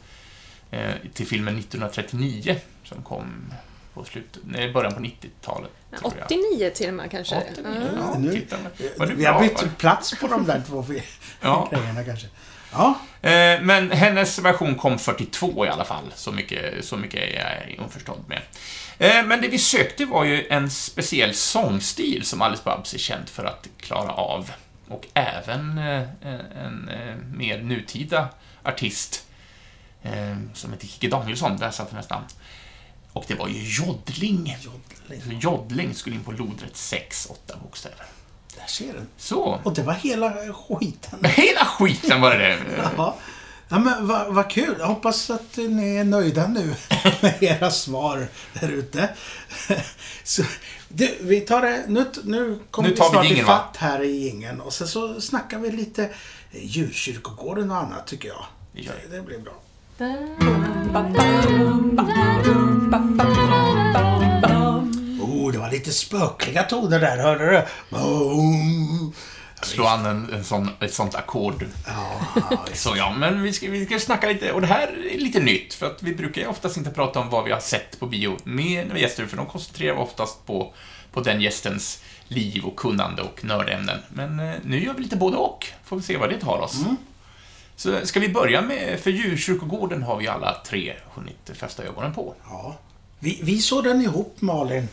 eh, till filmen 1939 som kom på slutet, nej, början på 90-talet. tror jag.
89 till och med kanske?
89,
Ja.
ja,
Nu-
titta. Var det
Eh, Vi har
bra? va?
bytt plats på de där två
Ja.
grejerna kanske. Ja,
Eh, Men hennes version kom 42 i alla fall, så mycket, så mycket är jag införstådd med. Eh, Men det vi sökte var ju en speciell sångstil som Alice Babs är känd för att klara av. Och även eh, en, en eh, mer nutida artist eh, som heter Kikki Danielsson, där satt hennes namn. Och det var ju joddling. Så joddling skulle in på lodrätt 6, 8 bokstäver.
där ser du.
Så.
Och det var hela skiten.
Hela skiten var det det.
Ja. Ja, men vad vad kul. Jag hoppas att ni är nöjda nu med era svar där ute. Så, du, vi tar det, nu, nu kommer
Nu
vi
tar vi
snart
jingeln, va?
ifatt här i ingen och sen så snackar vi lite djurkyrkogården och annat tycker jag.
Det gör
Det blir bra. Oh, det var lite spökliga toner där, hörde du? Oh. Boom.
slå an en, en sån, ett sånt ackord.
Ja,
Så ja, men vi ska, vi ska snacka lite, och det här är lite nytt, för att vi brukar ju oftast inte prata om vad vi har sett på bio med när vi gäster, för de koncentrerar vi oftast på, på den gästens liv och kunnande och nördämnen. Men eh, nu gör vi lite både och, får vi se vad det tar oss.
Mm.
Så ska vi börja med, för djurkyrkogården har vi alla tre hunnit fästa ögonen på.
ja. Vi, vi såg den ihop, Malin.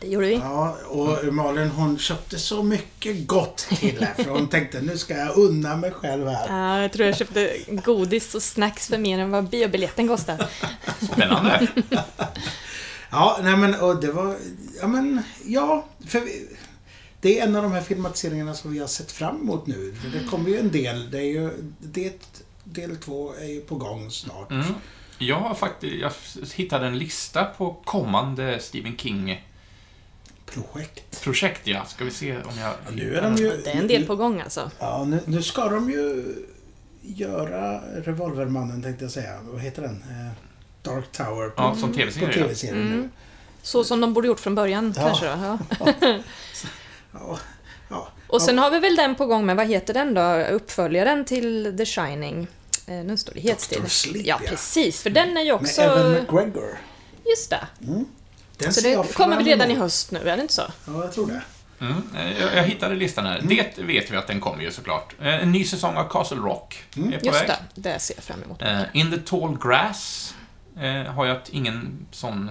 Det gjorde vi.
Ja, och Malin hon köpte så mycket gott till här, för hon tänkte nu ska jag unna mig själv här.
Ja, Eh, jag tror jag köpte godis och snacks för mer än vad biobiljetten kostade.
Spännande.
Ja, nej men och det var... Ja, men ja. För vi, det är en av de här filmatiseringarna som vi har sett fram emot nu. För det kommer ju en del. Det är ju... Det, del två är ju på gång snart.
Mm. Jag har faktiskt, jag hittade en lista på kommande Stephen King-projekt,
Projekt.
ja. Ska vi se om jag...
Ja, nu är de ju...
Det är en del på gång alltså.
Ja, nu, nu ska de ju göra Revolvermannen tänkte jag säga. Vad heter den? Eh, Dark Tower på,
Ja, som
på
tv-serie. ja.
tv-serien nu.
Mm. Så som de borde gjort från början
Ja.
kanske då. Ja.
Ja, ja.
Och sen har vi väl den på gång med, vad heter den då, uppföljaren till The Shining? Eh, nu står det helt still.
Dr. Sleep,
Ja,
ja.
precis, för den är ju
Med
också...
Evan McGregor.
Just det.
Den
Så
ser jag
Alltså, det
fram
kommer väl redan i
emot.
höst nu, är det inte så?
Ja, jag tror det.
Mm, eh, jag, jag hittade listan här. Det vet vi att den kommer ju såklart. Eh, En ny säsong av Castle Rock är på
Just
väg.
det, det ser jag fram emot.
Eh, In the Tall Grass eh, har jag t- ingen sån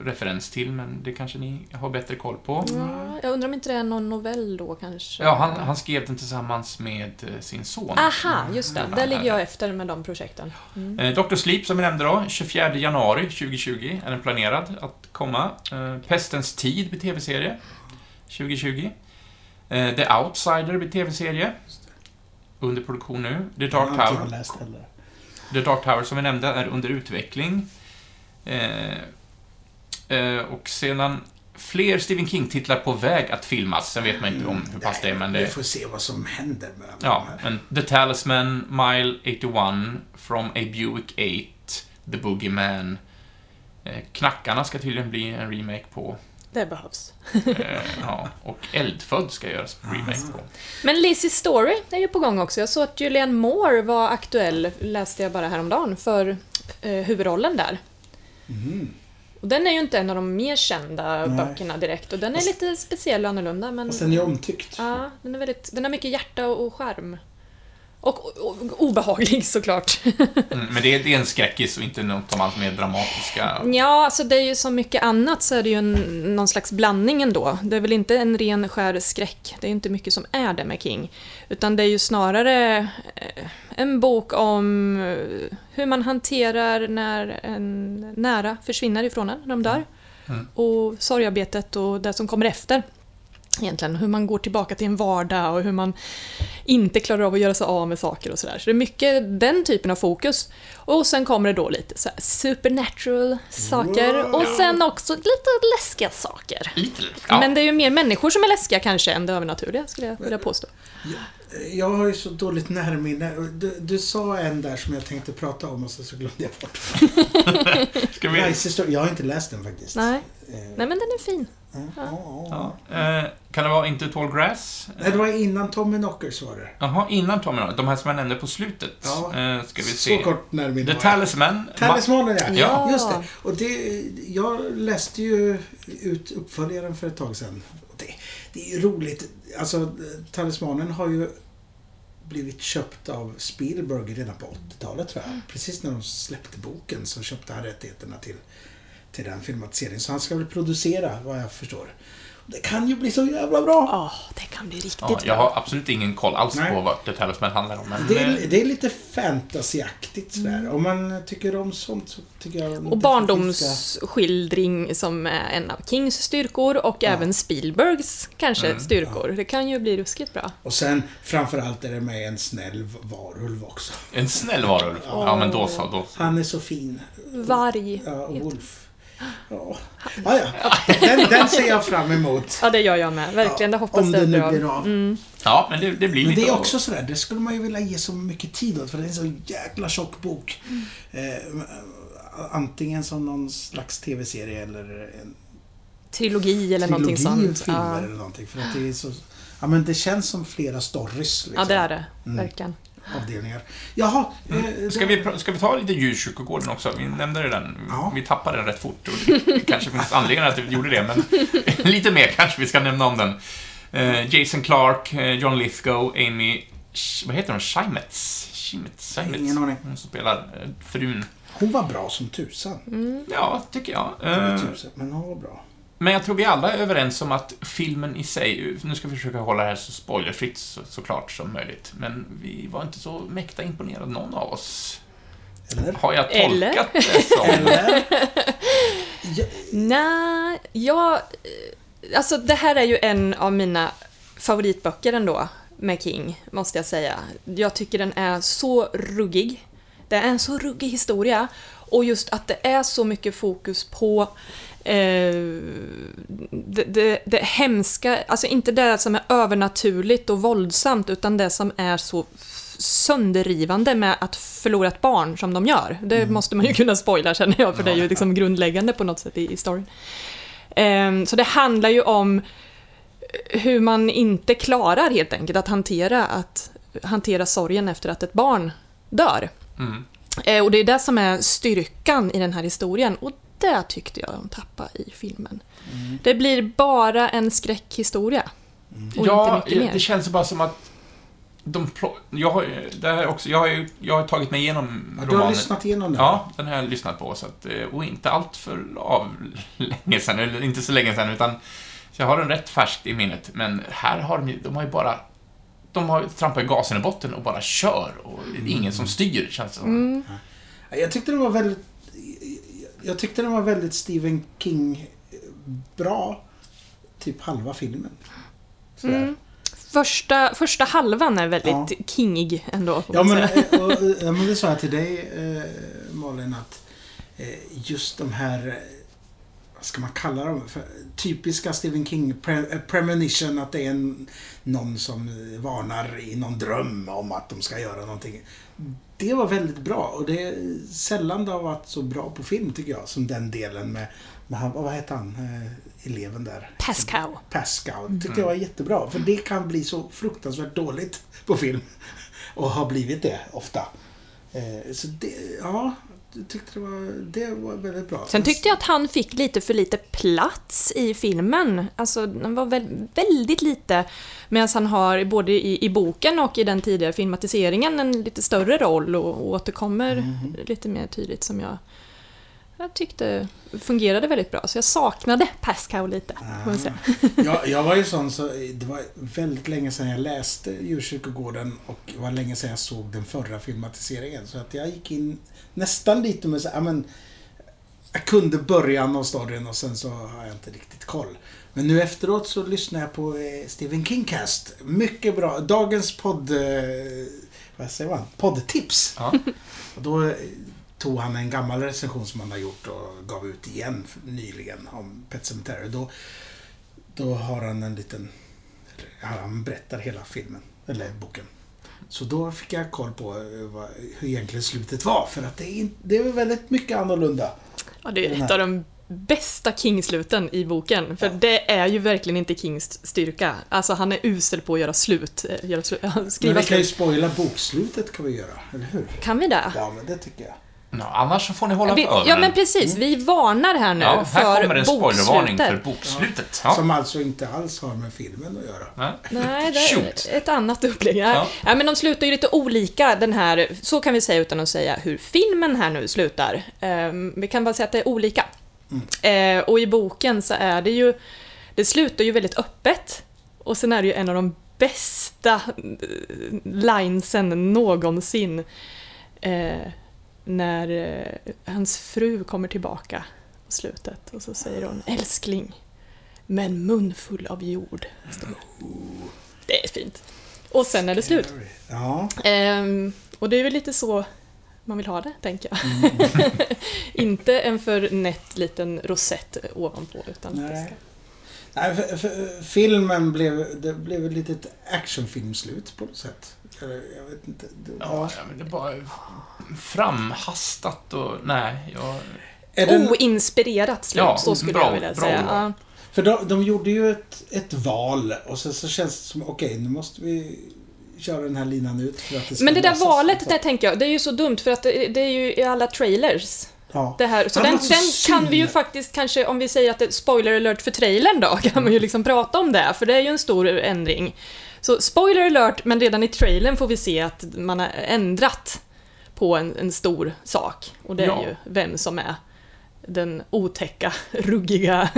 referens till, men det kanske ni har bättre koll på.
Ja, jag undrar om inte det är någon novell då kanske?
Ja, han, han skrev den tillsammans med eh, sin son.
Aha, just det. Där
Ja,
ligger
ja,
jag efter med de projekten.
Eh, Dr. Sleep, som vi nämnde då, 24 januari 2020 är den planerad att komma. Eh, Pestens tid blir tv-serie 2020. Eh, The Outsider blir tv-serie. Under produktion nu. The
Jag har
Dark
inte
Tower.
läst heller.
The Dark Tower som vi nämnde är under utveckling. Eh, eh, och sedan fler Stephen King-titlar på väg att filmas. Sen vet man inte om hur pass det är, men
Vi
det...
Mm, får se vad som händer med alla
Ja,
de här.
men The Talisman, Mile 81, From a Buick 8, The Boogeyman. Eh, Knackarna ska tydligen bli en remake på.
Det behövs.
Eh, ja, och Eldfödd ska göras remake på.
Men Lizzie Story är ju på gång också. Jag såg att Julianne Moore var aktuell, läste jag bara häromdagen, för eh, huvudrollen där. Och den är ju inte en av de mer kända
Nej.
böckerna direkt och den är lite speciell och annorlunda men...
Och sen är jag omtyckt.
Ja, den, är väldigt, den har mycket hjärta och och charm. Och, o- o- obehaglig såklart.
Mm, men det är, det är en skräckis och inte något av allt mer dramatiska.
Ja, alltså det är ju som mycket annat så är det ju en, någon slags blandning ändå. Det är väl inte en ren skär skräck. Det är ju inte mycket som är det med King. Utan det är ju snarare eh, en bok om eh, hur man hanterar när en nära försvinner ifrån en, när de dör. Och sorgarbetet och det som kommer efter. Egentligen hur man går tillbaka till en vardag och hur man inte klarar av att göra sig av med saker och sådär. Så det är mycket den typen av fokus. Och sen kommer det då lite så här supernatural saker
Wow.
och sen också lite läskiga saker.
Lite, ja.
Men det är ju mer människor som är läskiga kanske än det övernaturliga skulle jag vilja påstå.
Jag har ju så dåligt närminne. Du, du sa en där som jag tänkte prata om och sen så glömde jag bort.
Ska vi...
Nice historia. Jag har inte läst den faktiskt.
Nej.
Eh,
Nej men den är fin.
Mm,
Ja.
ja, ja.
Ja. Eh, kan det vara Into Tall Grass?
Nej, det var innan Tommy Knockers var det.
Jaha, innan Tommy Knocker. De här som jag nämnde på slutet.
Ja.
Eh, ska vi
Så
se.
kort närminne
The
var jag.
Talisman.
Talismanen, ja.
Ja.
Just det. Och det. Jag läste ju ut uppföljaren för ett tag sedan. Och Det, det är ju roligt. Alltså, Talismanen har ju blivit köpt av Spielberg redan på 80-talet, tror jag. Precis när de släppte boken så köpte han rättigheterna till, till den filmatiseringen. Så han ska väl producera, vad jag förstår. Det kan ju bli så jävla bra!
Ja, det kan bli riktigt
Ja, jag
bra.
har absolut ingen koll alls
Nej.
på vad The Talisman handlar om. Men,
Det
eh,
är, det är lite fantasyaktigt sådär. Om man tycker om sånt så tycker jag...
Och
definitivt ska-
barndomsskildring som är en av Kings styrkor och även Spielbergs kanske
Mm.
styrkor. Det kan ju bli ruskigt bra.
Och sen framförallt är det med en snäll varulv också.
En snäll varulv. Ja, men då så. Då.
Han är så fin.
Varg.
Ja, och Wolf. Ja, ah, ja. Den, den ser jag fram emot.
Ja, det gör jag med. Verkligen, det hoppas
Om det
jag
nu
blir av.
blir av.
Ja, men det, det blir
Men
lite...
det är också sådär, det skulle man ju vilja ge så mycket tid åt för det är en så jäkla tjock bok.
Mm.
Eh, antingen som någon slags tv-serie eller en
Trilogi eller
trilogi,
någonting sånt.
filmer liksom.
Ja.
eller någonting. För att det är så... Ja, men det känns som flera stories. Liksom,
ja, det är det. Verkligen.
Avdelningar. Jaha. Eh,
Mm. Ska vi, pr- ska vi ta lite djurkyrkogården också? Vi nämnde ju den.
Ja.
Vi tappade den rätt fort. Och det kanske finns anledningar att vi gjorde det, men lite mer kanske vi ska nämna om den. Eh, Jason Clark, eh, John Lithgow, Amy... Sh- Vad heter hon? Shimetz? Shimetz? Shimetz?
Ingen aning.
Hon som spelar eh, frun.
Hon var bra som tusan.
Ja, tycker jag.
Eller
Mm. Eh,
tusen, men hon var bra.
Men jag tror vi alla är överens om att filmen i sig, nu ska vi försöka hålla det här så spoilerfritt så, såklart som möjligt, men vi var inte så mäkta imponerad någon av oss.
Eller?
Har jag tolkat
Eller?
det som?
Eller? Ja,
Nej, jag... eh, Alltså det här är ju en av mina favoritböcker ändå med King, måste jag säga. Jag tycker den är så ruggig. Det är en så ruggig historia. Och just att det är så mycket fokus på eh, det, det, det hemska, alltså inte det som är övernaturligt och våldsamt utan det som är så f- sönderrivande med att förlora ett barn som de gör. Det måste man ju kunna spoila känner jag för det är ju liksom grundläggande på något sätt i, i storyn. Ehm, så det handlar ju om hur man inte klarar helt enkelt att hantera, att hantera sorgen efter att ett barn dör.
Mm.
Eh, Och det är det som är styrkan i den här historien och det tyckte jag de tappade i filmen.
Mm.
Det blir bara en skräckhistoria. Och
Ja,
inte mycket
det
mer.
känns bara som att de plo- jag, har, ju- det här är också, jag, har ju, jag har tagit mig igenom
Du har
romanen.
lyssnat igenom den?
Ja, den har jag lyssnat på, så att, eh, och inte allt för av länge sedan, eller inte så länge sedan, utan så jag har den rätt färskt i minnet, men här har de ju, de har ju bara de har trampat gasen i botten och bara kör och det
Mm.
är ingen som styr, känns det som.
Mm.
Jag tyckte den var väldigt... Jag tyckte den var väldigt Stephen King eh, bra. Typ halva filmen. Sådär.
Mm.
Första, första halvan är väldigt
Ja.
kingig ändå. får
Ja
man
men,
säga.
eh, och, eh, ja, men det sa jag till dig eh, Malin att eh, just de här, eh, vad ska man kalla dem, för, typiska Stephen King pre, eh, premonition att det är en, någon som eh, varnar i någon dröm om att de ska göra någonting. Det var väldigt bra och det är sällan det har varit så bra på film tycker jag som den delen med, med han, vad hette han, eh, eleven där?
Pascal.
Pascal. Det
Mm.
tyckte jag var jättebra. För det kan bli så fruktansvärt dåligt på film. Och har blivit det ofta. Eh, Så det, ja. Jag tyckte det var, det var väldigt bra.
Sen tyckte jag att han fick lite för lite plats i filmen. Alltså, den var väl, väldigt lite. Medan han har både i, i boken och i den tidigare filmatiseringen en lite större roll och, och återkommer
Mhm.
lite mer tydligt som jag, jag tyckte fungerade väldigt bra. Så jag saknade Pascal lite. får man
Ah.
säga.
jag, jag var ju sån så det var väldigt länge sedan jag läste Djurkyrkogården och det var länge sedan jag såg den förra filmatiseringen. Så att jag gick in nästan lite med så här, "Ja, men jag kunde början av storyn och sen så har jag inte riktigt koll. Men nu efteråt så lyssnar jag på eh, Stephen Kingcast. Mycket bra. Dagens podd... Eh, vad säger man? Poddtips.
Ja.
Och då eh, tog han en gammal recension som han har gjort och gav ut igen f- nyligen om Pet Sematary. Då, då har han en liten... eller, Han berättar hela filmen, eller boken. Så då fick jag koll på eh, vad, hur egentligen slutet var, för att det är, in- det är väldigt mycket annorlunda.
Ja, det är ett av de bästa King-sluten i boken. För det är ju verkligen inte Kings styrka. Alltså han är usel på att göra slut. eh, Göra slu
Men
skriva
vi kan ju
slut.
spoila bokslutet kan vi göra, eller hur?
Kan vi det?
Ja, men det tycker jag.
Nå, annars så får ni hålla
Vi,
för öronen.
ja men precis, vi varnar här nu
Mm. Ja, här kommer
för
en spoilervarning för
bokslutet.
bokslutet. Ja.
Som alltså inte alls har med filmen att göra.
Ja.
Nej, det
Shoot.
är ett annat upplägg. Nej.
Ja.
Nej, men de slutar ju lite olika den här, så kan vi säga utan att säga hur filmen här nu slutar. Ehm, vi kan bara säga att det är olika.
Mm.
Eh, och i boken så är det ju, det slutar ju väldigt öppet. Och sen är det ju en av de bästa eh, linesen någonsin. Eh, när eh, hans fru kommer tillbaka på slutet och så säger hon älskling, men mun full av jord. står det. Det är fint. Och sen är det slut.
Ja.
Ehm, och det är väl lite så man vill ha det, tänker jag.
Mm.
Inte en för nätt liten rosett ovanpå, utan att det
Nej. Nej, för, för, filmen blev, det blev ett litet actionfilmslut på något sätt. Eller, Jag vet inte. Det-
Ja, ja, men det är bara framhastat och... Nej, jag...
Är
ska...
den,
Oinspirerat slut,
Ja,
så skulle
bra,
jag vilja
bra
säga.
ord.
Ja.
för de, de gjorde ju ett, ett val och sen så känns det som, okej, nu måste vi köra den här linan ut för att det ska
Men det där
lösas.
valet, där tänker jag, det är ju så dumt för att det, det är ju i alla trailers.
Ja.
Det här. Så
Ja,
den,
men så
den kan vi ju
synd.
faktiskt kanske, om vi säger att det är spoiler alert för trailern då, kan man ju liksom prata om det, för det är ju en stor ändring. Så spoiler alert, men redan i trailern får vi se att man har ändrat på en, en stor sak. Och det
Ja.
är ju vem som är den otäcka, ruggiga,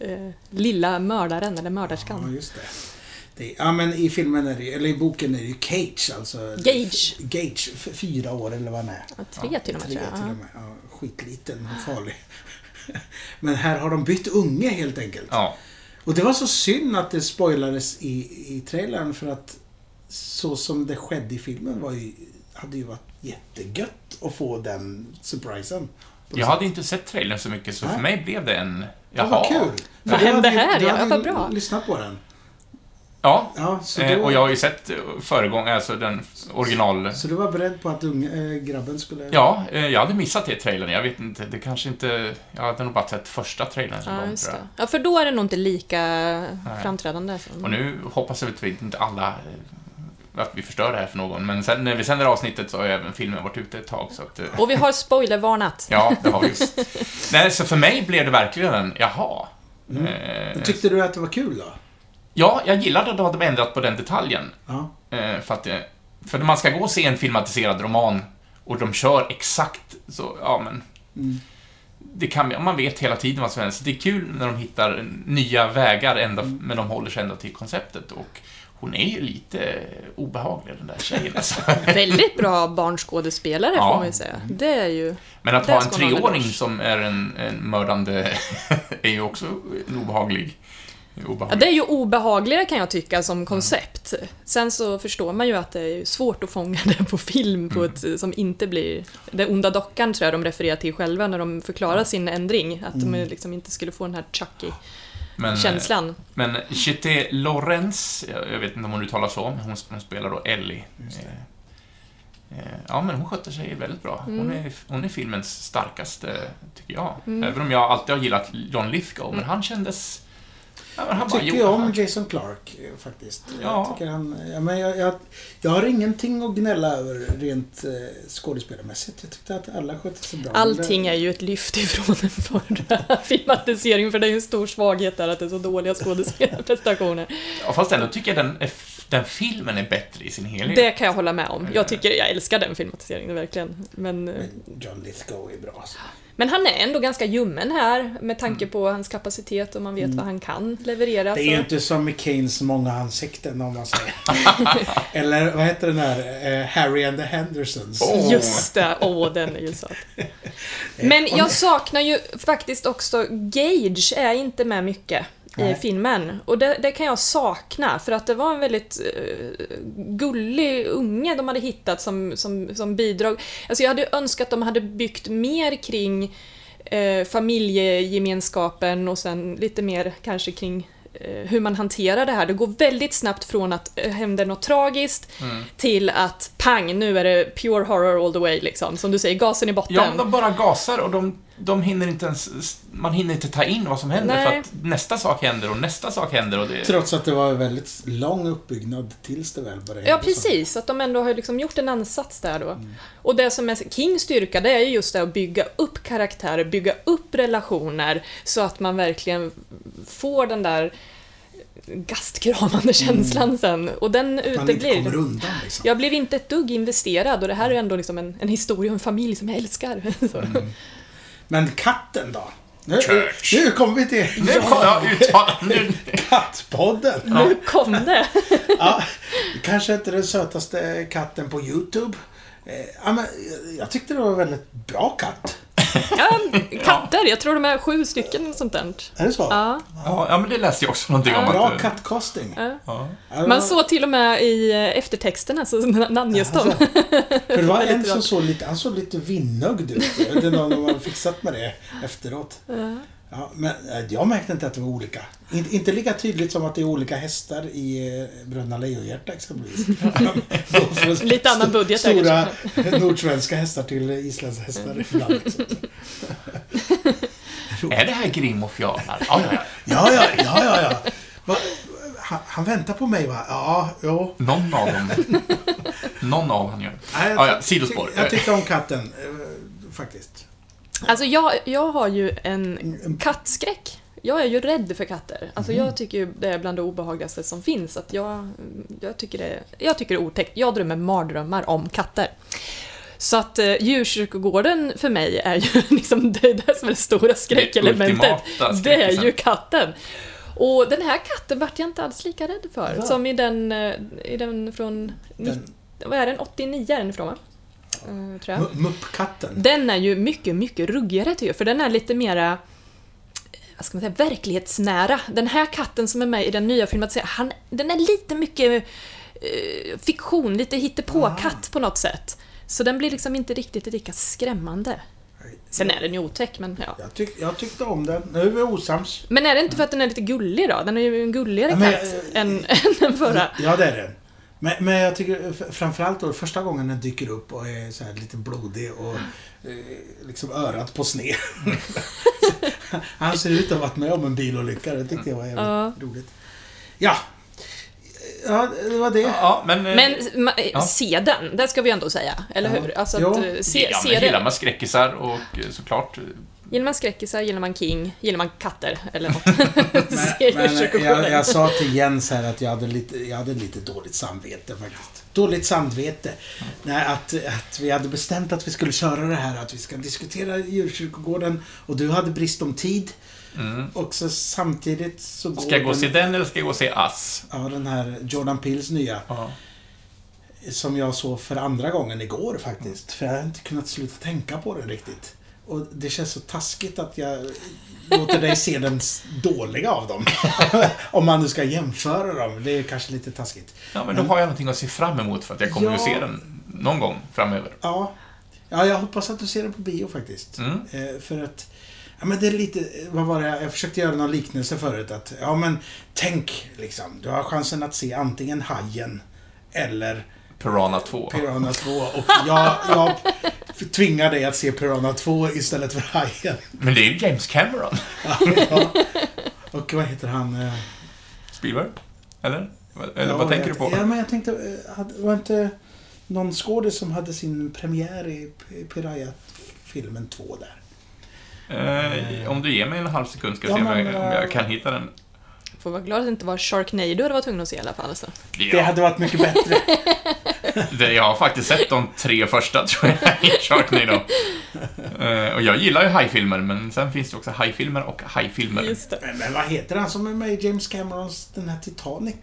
eh, lilla mördaren eller
Ja,
mörderskan.
just det. det. Ja, men i filmen är det ju- eller i boken är det ju Cage alltså.
Gage.
Gage, f- fyra år eller vad han är.
Ja, tre till och med
Tre
tror
till
jag.
och
Ja.
med. Ja, skitliten och farlig. Men här har de bytt unge helt enkelt.
Ja.
Och det var så synd att det spoilades i, i trailern för att så som det skedde i filmen var ju, hade ju varit jättegött att få den surprisen. På
Jag
något
hade inte sett trailern så mycket, så
Nej.
för mig blev det en...
sätt. Ja, vad kul! För
Vad
du
hände
hade ju-
här?
du
Ja,
hade
vad
ju
bra.
lyssnat på den.
Ja.
Ja, så
Eh,
då-
och jag har ju sett eh, föregång, alltså den original...
Så du var beredd på att unge, äh, grabben skulle...
Ja, eh, jag hade missat det trailern. Jag vet inte, det kanske inte... Jag hade nog bara sett första trailern som
Ja,
kom,
just
tror jag.
det. ja, för då är det nog inte lika framträdande. som-
Och nu hoppas jag att vi inte alla... eh, Att vi förstör det här för någon. Men sen när vi sänder avsnittet så har ju även filmen varit ute ett tag, så att... eh,
Och vi har spoilervarnat.
Ja, det har vi just. Nej, så för mig blev det verkligen en, jaha. Eh,
Tyckte du att det var kul då?
ja, jag gillade att de hade ändrat på den detaljen.
Ja.
Eh, för att eh, för att man ska gå och se en filmatiserad roman och de kör exakt så, ja men. Det kan, man vet hela tiden vad som händer. Så det är kul när de hittar nya vägar, ända, men de håller sig ändå till konceptet. Och hon är ju lite obehaglig, den där tjejen alltså.
Väldigt bra barnskådespelare
Ja.
får man ju säga. Det är ju...
Men att
Där
ha en
ska man ha
treåring
eloge.
som är en, en mördande är ju också en obehaglig.
Ja,
obehaglig.
det är ju obehagligare kan jag tycka som koncept. Sen så förstår man ju att det är ju svårt att fånga det på film
Mm.
på ett som inte blir... Det onda dockan tror jag de refererar till själva när de förklarar sin ändring. Att de liksom inte skulle få den här Chucky-känslan.
Men, eh, men Chité Lorenz, jag jag vet inte om hon uttalar så, men hon, hon spelar då Ellie. Eh, eh, Ja, men hon sköter sig väldigt bra. Hon
Mm.
är, hon är filmens starkaste, tycker jag. Även om jag alltid har gillat John Lithgow,
Mm.
men han kändes... Ja, men han
Jag tycker
bara,
ju
jo,
om
han-
Jason Clark eh, faktiskt.
Ja.
Jag, tycker han, ja, men jag, jag, jag har ingenting att gnälla över rent eh, skådespelarmässigt. Jag tyckte att alla skötte sig bra.
Allting är ju ett lyft ifrån den förra filmatiseringen för det är ju en stor svaghet där att det är så dåliga skådespelarprestationer.
ja, fast ändå tycker jag den, den filmen är bättre i sin helhet.
Det kan jag hålla med om. Jag tycker, jag älskar den filmatiseringen verkligen. Men, eh,
Men John Lithgow är bra.
Alltså-
Så.
men han är ändå ganska ljummen här med tanke på hans kapacitet och man vet vad han kan leverera.
Mm. Det är ju
Så.
inte som med Keynes många ansikten om man säger. Eller vad heter den här? Eh, Harry and the Hendersons.
Åh.
Just det, åh den är ju söt. Men jag saknar ju faktiskt också, Gage är inte med mycket i
Nej.
filmen. Och det, det kan jag sakna, för att det var en väldigt eh, gullig unge de hade hittat som, som, som bidrag. Alltså jag hade ju önskat att de hade byggt mer kring eh, familjegemenskapen och sen lite mer kanske kring eh, hur man hanterar det här. Det går väldigt snabbt från att eh, händer något tragiskt till att pang, nu är det pure horror all the way liksom. Som du säger, gasen i botten.
Ja, men de bara gasar och de de hinner inte ens, man hinner inte ta in vad som händer för
Nej.
att nästa sak händer och nästa sak händer och det...
Trots att det var en väldigt lång uppbyggnad tills det väl började
Ja,
hända saker.
precis. Att de ändå har liksom gjort en ansats där då. Och det som är Kings styrka, det är ju just det att bygga upp karaktärer, bygga upp relationer, så att man verkligen får den där gastkramande känslan sen. Och den
Man inte
uteblir.
kommer undan liksom.
Jag blev inte ett dugg investerad och det här är ändå liksom en, en historia om en familj som jag älskar. Så.
Men katten då? Nu,
Church.
nu kommer vi till
Nu kom jag uttala nu.
Kattpodden.
Nu kom det!
Ja, kanske inte den sötaste katten på YouTube. Eh, Ja, men jag tyckte det var en väldigt bra katt.
Ja, katter, jag tror de är sju stycken eller sånt där.
Är det så?
Ja.
Ja, ja, men det läste jag också någonting om.
Bra
att,
kattkasting.
ja.
Ja, det var-
Man såg till och med i eh, eftertexterna så namnges de.
Alltså, för det var en
Väldigt
som
bra.
såg lite, han såg lite vinnögd ut. Jag vet inte om de har fixat med det efteråt. Ja, men eh, jag märkte inte att det var olika. In, inte lika tydligt som att det är olika hästar i eh, Bröderna Lejonhjärta exempelvis. Då får
Lite annan budget där,
Stora nordsvenska hästar till isländska
Mm.
hästar ibland. Liksom.
Är det här Grim och Fjalar? Ja, ja, ja.
Ja, ja, ja, ja. ja. Va, han, han väntar på mig va? Ja, jo.
Någon av dem. Någon av han gör.
Nej,
Ja, ja,
tyck-
sidospår.
Jag tyckte om katten, eh, faktiskt.
Alltså jag, jag har ju en kattskräck. Jag är ju rädd för katter. Alltså jag tycker ju det är bland det obehagligaste som finns. Att jag, jag, tycker det, jag tycker det är otäckt. Jag drömmer mardrömmar om katter. Så att eh, djurkyrkogården för mig är ju liksom det, det som är det stora skräckelementet.
ultimata
Det är
skräckisen.
ju katten. Och den här katten vart jag inte alls lika rädd för.
Va?
Som i den, eh, i den från...
Den-
nitt- vad är den? 89 är den ifrån va? Eh, tror jag.
M- Muppkatten.
Den är ju mycket, mycket ruggigare tycker jag, för den är lite mera vad ska man säga, verklighetsnära. Den här katten som är med i den nya filmatiseringen, han, den är lite mycket eh, fiktion, lite
Ah.
hittepåkatt på något sätt. Så den blir liksom inte riktigt lika skrämmande. Sen är den ju otäck, men ja.
Jag, tyck, jag tyckte om den. Nu är vi osams.
Men är det inte för att den är lite gullig då? Den är ju en gulligare
Ja, men-
katt än, än den förra.
Ja, det är den. Men, men jag tycker eh, f- framförallt då första gången den dyker upp och är så här lite blodig och eh, liksom örat på sned. Han ser ut att ha varit med om en bilolycka. Det tyckte jag var jävligt
Ja.
roligt. Ja. Ja, det var det.
Ja, men... eh,
Men ma-
Ja.
se den, det ska vi ändå säga, eller
Ja.
hur? Alltså
Jo.
att, eh, se,
gillar,
se
man, gillar
den.
man skräckisar och eh, såklart... eh,
Gillar man skräckisar, gillar man King, gillar man katter eller något.
Men, men jag,
Seriekyrkogården.
jag sa till Jens här att jag hade lite, jag hade lite dåligt samvete faktiskt. Dåligt samvete. Nej, att, att vi hade bestämt att vi skulle köra det här, att vi ska diskutera djurkyrkogården och du hade brist om tid. Och så samtidigt så går
Mm. Ska jag gå och
den,
se den eller ska jag gå och se Ass?
Ja, den här Jordan Peels nya,
Ja.
som jag såg för andra gången igår faktiskt. För jag har inte kunnat sluta tänka på den riktigt. Och det känns så taskigt att jag låter dig se den s- dåliga av dem. Om man nu ska jämföra dem. Det är kanske lite taskigt.
Ja, men då har jag någonting att se fram emot för att jag kommer
Mm. Ja.
att se den någon gång framöver.
Ja. ja, jag hoppas att du ser den på bio faktiskt. Eh, för att... Ja, men det är lite, vad var det, jag försökte göra någon liknelse förut att, ja men tänk liksom, du har chansen att se antingen Hajen eller
Piranha 2.
Piranha 2 och jag, jag tvingar dig att se Piranha 2 istället för Hajen.
Men det är ju James Cameron.
Ja. Och vad heter han? eh,
Spielberg? Eller? Eller
ja,
vad tänker du
jag-
på?
Ja, men jag tänkte, eh, hade- var det inte någon skådis som hade sin premiär i P- Piraya-filmen 2 där?
Eh, om du ger mig en halv sekund ska jag
Ja,
se om
men,
jag, om jag
eh,
kan hitta den.
Får vara glad att det inte var Sharknado du var tvungen att se i alla fall. alltså. Så.
Det
Ja,
hade varit mycket bättre.
det, jag har faktiskt sett de tre första, tror jag, i Sharknado. Eh, och jag gillar ju hajfilmer, men sen finns det också hajfilmer och hajfilmer.
Just det.
Men, men vad heter han som är med i James Camerons den här Titanic?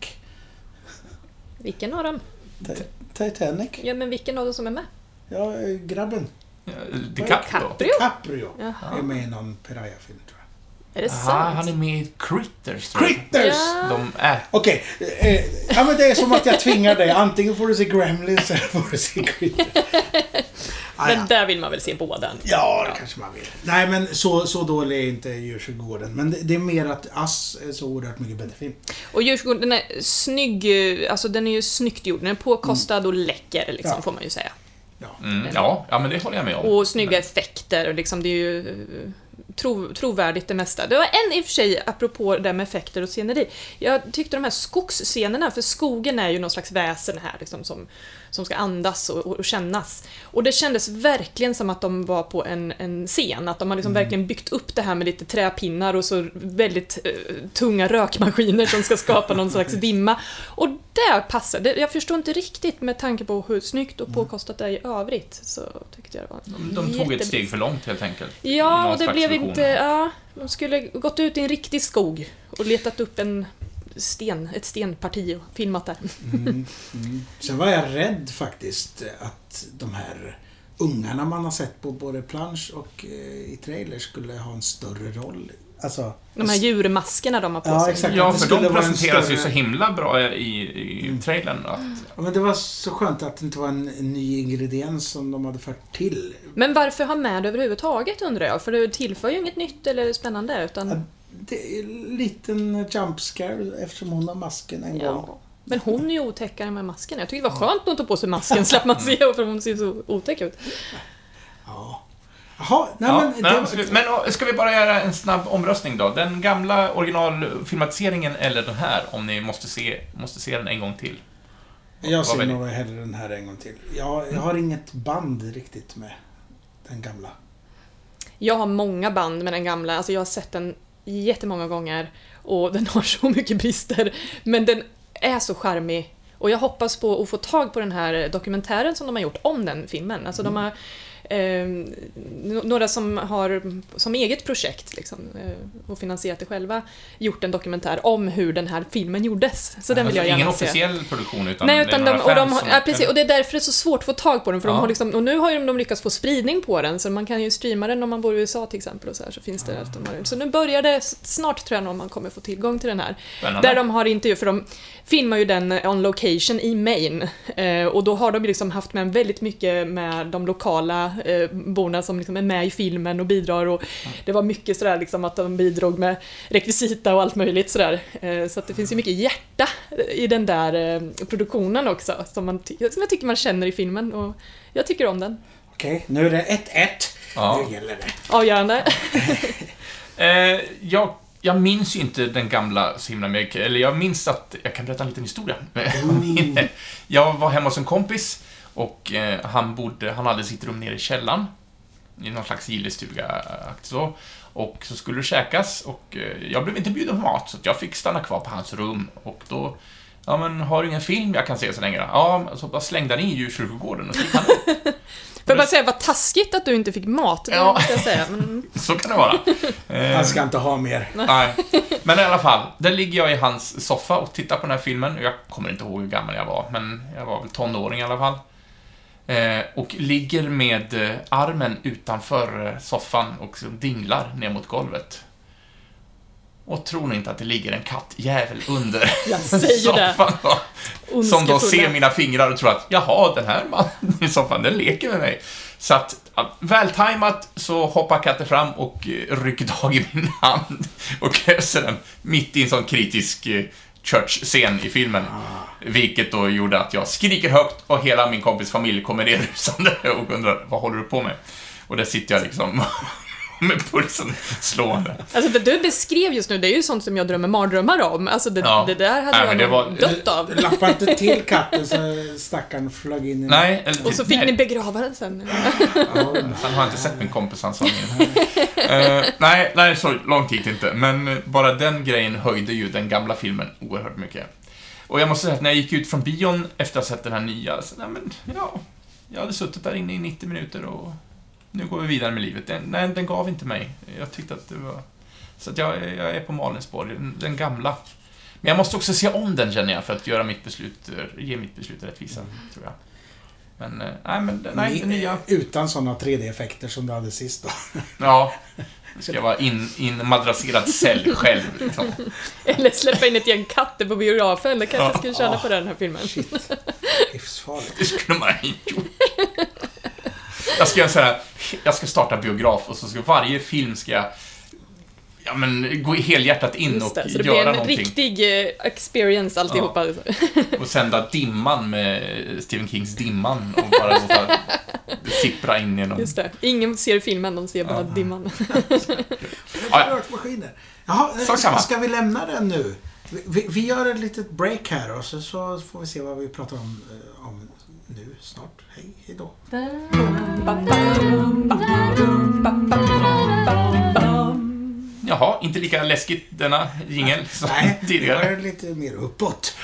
Vilken av dem?
Ti- Titanic?
Ja, men vilken av dem som är med?
Ja, eh, grabben.
Eh, DiCaprio.
Caprio?
Caprio
Jaha.
är med i någon Piraya-film tror jag.
Är det
Aha, han är
sant?
med i Critters. tror jag.
Critters!
Ja.
De är...
Okej, eh, ja, men det är som att jag tvingar dig. Antingen får du se Gremlins eller får du se Critter. Ah,
Den
ja.
där vill man väl se båda?
ja, det kanske man vill. Nej, men så, så dålig är inte Djurkyrkogården. Men det, det är mer att Ass är så oerhört mycket bättre film.
Och Djurgården, den är snygg, eh, alltså den är ju snyggt gjord. Den är påkostad och läcker liksom,
Ja.
får man ju säga.
Ja.
Mm, ja, ja, men det håller jag med om.
Och snygga effekter och liksom, det är ju eh, tro, trovärdigt det mesta. Det var en i och för sig, apropå det här med effekter och sceneri. Jag tyckte de här skogsscenerna, för skogen är ju någon slags väsen här liksom, som, som ska andas och, och, och kännas. Och det kändes verkligen som att de var på en, en scen, att de har liksom verkligen byggt upp det här med lite träpinnar och så väldigt eh, tunga rökmaskiner som ska skapa någon slags dimma. Och där passar det. Jag förstår inte riktigt med tanke på hur snyggt och påkostat det är i övrigt, så tyckte jag det var
De, de tog ett
jättebra.
steg för långt helt enkelt.
Ja,
Någon
och det
slags
blev
vision.
inte... Ja, de skulle gått ut i en riktig skog och letat upp en sten, ett stenparti och filmat där.
Mm. Mm. Sen var jag rädd faktiskt att de här ungarna man har sett på både plansch och eh, i trailers skulle ha en större roll. Alltså,
De här djurmaskerna de har på sig.
Ja, exakt.
Ja,
Det
för
skulle
de
vara en
presenteras
större-
ju så himla bra i, i trailern. Att,
Ja, Men det var så skönt att det inte var en en ny ingrediens som de hade fört till.
Men varför ha med det överhuvudtaget undrar jag? För det tillför ju inget nytt eller spännande
Ja,
utan...
Det är en liten jump scare eftersom hon har masken en gång.
Ja. Men hon är ju otäckare med masken. Jag tyckte det var skönt att hon tog på sig masken, slapp man se för hon ser så otäck ut.
Ja. Jaha, nej
ja,
men...
nej,
det var-
absolut. men och, ska vi bara göra en snabb omröstning då? Den gamla originalfilmatiseringen eller den här, om ni måste se, måste se den en gång till?
Jag
Vad
ser
väljer-
nog hellre den här en gång till. Jag, jag har inget band riktigt med den gamla.
Jag har många band med den gamla, alltså jag har sett den jättemånga gånger och den har så mycket brister. Men den är så charmig och jag hoppas på att få tag på den här dokumentären som de har gjort om den filmen. Alltså
Mm.
de har eh, no- några som har som eget projekt liksom, eh, och finansierat det själva gjort en dokumentär om hur den här filmen gjordes. Så den vill jag
Alltså, ingen
gärna se.
officiell produktion, utan,
Nej, utan
det är
de,
några
och, de,
fans
har-
som-
ja, precis, och det är därför det är så svårt att få tag på den. För de
Ja.
har liksom, och nu har ju de lyckats få spridning på den, så man kan ju streama den om man bor i USA till exempel. Och så, här, så, finns det att de har, så nu börjar det, snart tror jag nog man kommer få tillgång till den här.
Spännande.
Där de har intervju, för de filmar ju den eh, on location i Maine. Eh, och då har de ju liksom haft med väldigt mycket med de lokala eh, borna som liksom är med i filmen och bidrar. Och det var mycket sådär liksom att de bidrog med rekvisita och allt möjligt sådär. Eh, så att det finns ju mycket hjärta i den där eh, produktionen också, som, man ty- som jag tycker man känner i filmen. Och jag tycker om den.
Okej, nu är det 1-1.
Ja.
Nu gäller det.
Avgörande.
Eh, jag, jag minns ju inte den gamla så himla mycket, eller jag minns att, jag kan berätta en liten historia. jag var hemma hos en kompis och eh, han bodde, han hade sitt rum nere i källaren. I någon slags gillestuga, eh, så. Och så skulle det käkas och eh, jag blev inte bjuden på mat, så att jag fick stanna kvar på hans rum. Och då, ja men har du ingen film jag kan se så länge då? Ja, men så bara slängde han in djurkyrkogården och så gick han
Får jag bara säga, vad taskigt att du inte fick mat. Det
Ja.
måste jag säga. Men, mm.
Så kan det vara. Eh,
Han ska inte ha mer.
Nej. Men i alla fall, där ligger jag i hans soffa och tittar på den här filmen. Jag kommer inte ihåg hur gammal jag var, men jag var väl tonåring i alla fall. Eh, och ligger med eh, armen utanför eh, soffan och så dinglar ner mot golvet. Och tror ni inte att det ligger en kattjävel under
Jag säger det.
soffan då? Som då
Ondskefulla.
ser mina fingrar och tror att jaha, den här mannen i soffan, den leker med mig. Så att, ja, vältajmat så hoppar katten fram och eh, rycker tag i min hand och kväser den mitt i en sån kritisk eh, church-scen i filmen.
Ah.
Vilket då gjorde att jag skriker högt och hela min kompis familj kommer ner rusande och undrar vad håller du på med? Och där sitter jag liksom med pulsen slående.
Alltså det du beskrev just nu, det är ju sånt som jag drömmer mardrömmar om. Alltså det,
Ja.
det där hade
Nej,
jag
men det
nog
var-
dött av.
Lappa inte till katten så stackaren flög in i...
Nej, eller-
Och så fick
nej.
ni begrava den sen.
Ja,
Sen har jag inte sett min kompis han sa min. Eh, nej, nej, så långt gick det inte. Men eh, bara den grejen höjde ju den gamla filmen oerhört mycket. Och jag måste säga att när jag gick ut från bion efter att ha sett den här nya, så nej men, ja. Jag hade suttit där inne i 90 minuter och nu går vi vidare med livet. Den, nej, den gav inte mig. Jag tyckte att det var... Så att jag, jag är på Malins spår, den, den gamla. Men jag måste också se om den känner jag, för att göra mitt beslut, eh, ge mitt beslut rättvisa, tror jag. Men, eh, nej, men, nej, den nya...
Utan sådana 3D-effekter som du hade sist då.
Ja. Nu ska jag vara in- inmadrasserad cell själv. Liksom.
Eller släppa in ett gäng katter på biografen. Det kanske
Ja.
skulle tjäna på den här filmen.
Shit. Livsfarligt.
Det skulle man ha gjort. Jag ska, göra så här, jag ska starta biograf och så ska varje film ska jag ja, men gå helhjärtat in
Just
och
det, så det blir
göra
en
någonting.
riktig eh, experience alltihopa.
Och sända dimman med Stephen Kings Dimman och bara låta sippra in genom...
Just det. Ingen ser filmen, de ser bara dimman.
Ja, ja.
Rökmaskiner. Jaha,
Sak
ska,
samma.
ska vi lämna den nu? Vi- Vi, vi gör ett litet break här och så, så får vi se vad vi pratar om, eh, om nu snart. Hej, hej då.
Jaha, inte lika läskigt denna jingel som
Nej, vi
tidigare.
gör lite mer uppåt.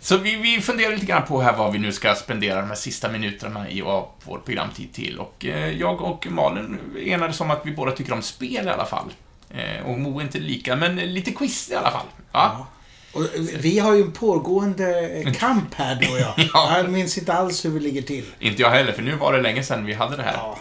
Så vi, vi funderar lite grann på här vad vi nu ska spendera de här sista minuterna i av vår programtid till. Och eh, jag och Malin enades om att vi båda tycker om spel i alla fall. Eh, och Mo är inte lika, men lite quiz i alla fall. Ja.
Och eh, vi har ju en pågående eh, kamp här du och jag.
Ja.
Jag minns inte alls hur vi ligger till.
Inte jag heller, för nu var det länge sedan vi hade det här.
Ja.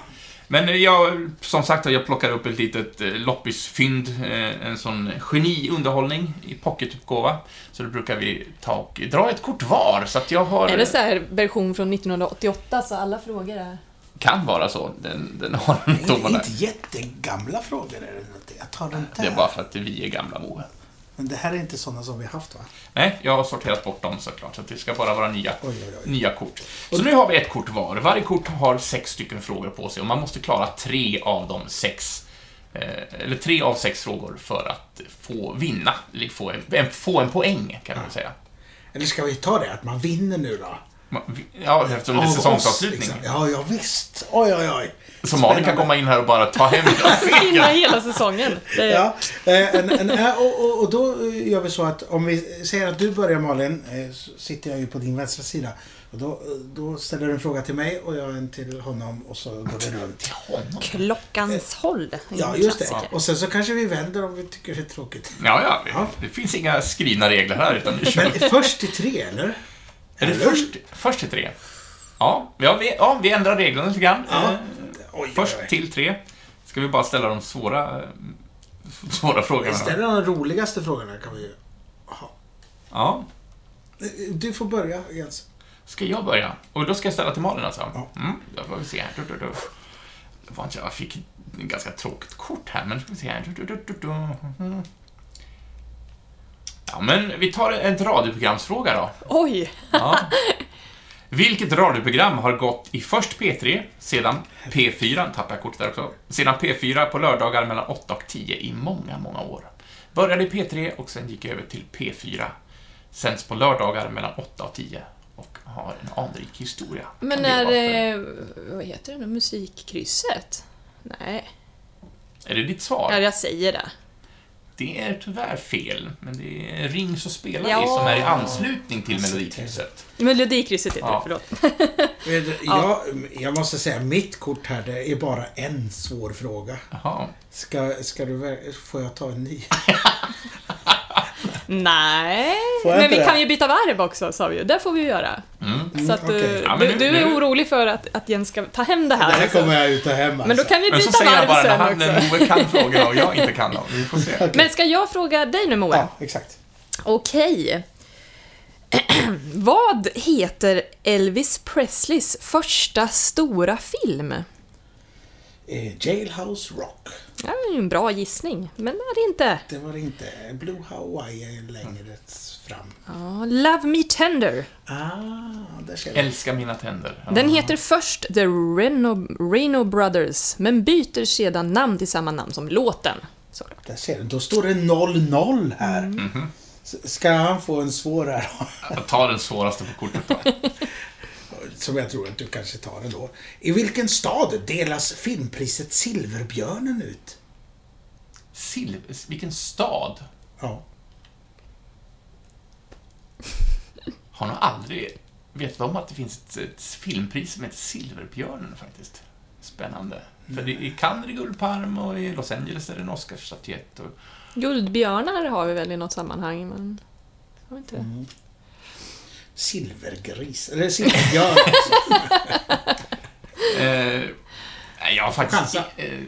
Men eh, jag, som sagt, jag plockade upp ett litet eh, loppisfynd, eh, en sån geniunderhållning i pocketutgåva. Så då brukar vi ta och dra ett kort var, så att jag har...
Är det så här version från 1988 så alla frågor är...
Kan vara så, den, den har en
Inte,
domarna.
inte jättegamla frågor är det något. Jag tar den
Det
där.
är bara för att vi är gamla Moe.
Men det här är inte sådana som vi har haft va?
Nej, jag har sorterat bort dem såklart, så att det ska bara vara nya,
Oj, oj, oj.
nya kort. Så nu har vi ett kort var. Varje kort har sex stycken frågor på sig och man måste klara tre av de sex eh, eller tre av sex frågor för att få vinna, eller få en, en- få en poäng kan man väl säga.
Eller ska vi ta det att man vinner nu då?
Man- vi- Ja, eftersom det är
Av oss,
säsongsavslutning.
liksom. Ja, ja visst. Oj, oj, oj.
Så Malin kan
Spännande.
komma in här och bara ta hem
Vinna hela säsongen. Det är...
Ja, eh, en, en, eh, och, och, och då eh, gör vi så att om vi säger att du börjar Malin, eh, så sitter jag ju på din vänstra sida. Och då, eh, då ställer du en fråga till mig och jag en till honom och så går det runt.
honom.
Klockans håll. är en
Ja, just det.
klassiker.
Och sen så kanske vi vänder om vi tycker det är tråkigt.
Ja, ja, det- det finns inga skrivna regler här utan nu kör
Men
vi.
först till tre, eller?
Är det först, först till tre? Ja, ja, vi, ja, vi ändrar reglerna lite grann.
Ja.
Eh,
Oj,
Först
oj, oj.
till tre. Ska vi bara ställa de svåra, eh, svåra frågorna?
Ställ de roligaste frågorna kan vi ju ha.
Ja.
Eh, Du får börja, Jens.
Ska jag börja? Och då ska jag ställa till Malin alltså?
Ja.
Mm, då får vi se här. Du, du, du. Det var inte- Jag fick ett ganska tråkigt kort här, men då ska vi se här. Du, du, du, du, du. Mhm. Ja, men vi tar en radioprogramsfråga då.
Oj!
Ja. Vilket radioprogram har gått i först P3, sedan P4, tappar jag kortet där också, sedan P4 på lördagar mellan 8 och 10 i många, många år. Började i P3 och sen gick jag över till P4. Sänds på lördagar mellan 8 och 10 och har en anrik historia.
Men
Kan det vara
är
för-
det... Vad heter det nu? Musikkrysset? Nej.
Är det ditt svar?
Ja, jag säger det.
Det är tyvärr fel, men det är Ring så spelar vi
Ja.
som är i anslutning till Melodikrysset.
Melodikrysset heter
Ja.
det, förlåt.
Eh, Jag, jag måste säga, mitt kort här, det är bara en svår fråga.
Jaha.
Ska, ska du, ver- får jag ta en ny?
Nej,
Får jag
men
inte
vi
det?
kan ju byta varv också sa vi ju. Det får vi ju göra.
Mm.
Så att du,
okej.
Ja, men nu-
du, du är
nu-
orolig för att, att Jens ska ta hem det
Det
här.
här
liksom.
kommer jag ut och hem alltså.
Men då kan vi
Men så
byta
säger jag bara
varv
när,
sen
han, när
också.
Moe kan frågorna och jag inte kan dem. Vi får se.
Men ska jag fråga dig nu Moe?
Ja, exakt.
Okej. Vad heter Elvis Presleys första stora film?
Eh, Jailhouse Rock.
Ja, det är ju en bra gissning, men är det inte.
Det var det inte. Blue Hawaii är längre fram.
Ja, Love Me Tender.
Ah, där ser jag.
Älska mina tänder. Ja.
Den heter först The Reno, Reno Brothers, men byter sedan namn till samma namn som låten. Såklart.
Där ser du. Då står det 0-0 här.
Mhm.
S- Ska han få en svår här?
Jag tar den svåraste på kortet då.
Som jag tror att du kanske tar ändå. I vilken stad delas filmpriset Silverbjörnen ut?
Silv- vilken stad?
Ja.
Har nog aldrig vetat om att det finns ett, ett filmpris som heter Silverbjörnen faktiskt. Spännande. För i- i Cannes är det guldparm och i Los Angeles är det en Oscarsstatyett. Och...
Guldbjörnar har vi väl i något sammanhang, men... Jag vet inte.
Mm.
Silvergris. Eller silverbjörn. alltså.
Eh, nej, jag har faktiskt...
Chansa.
Eh,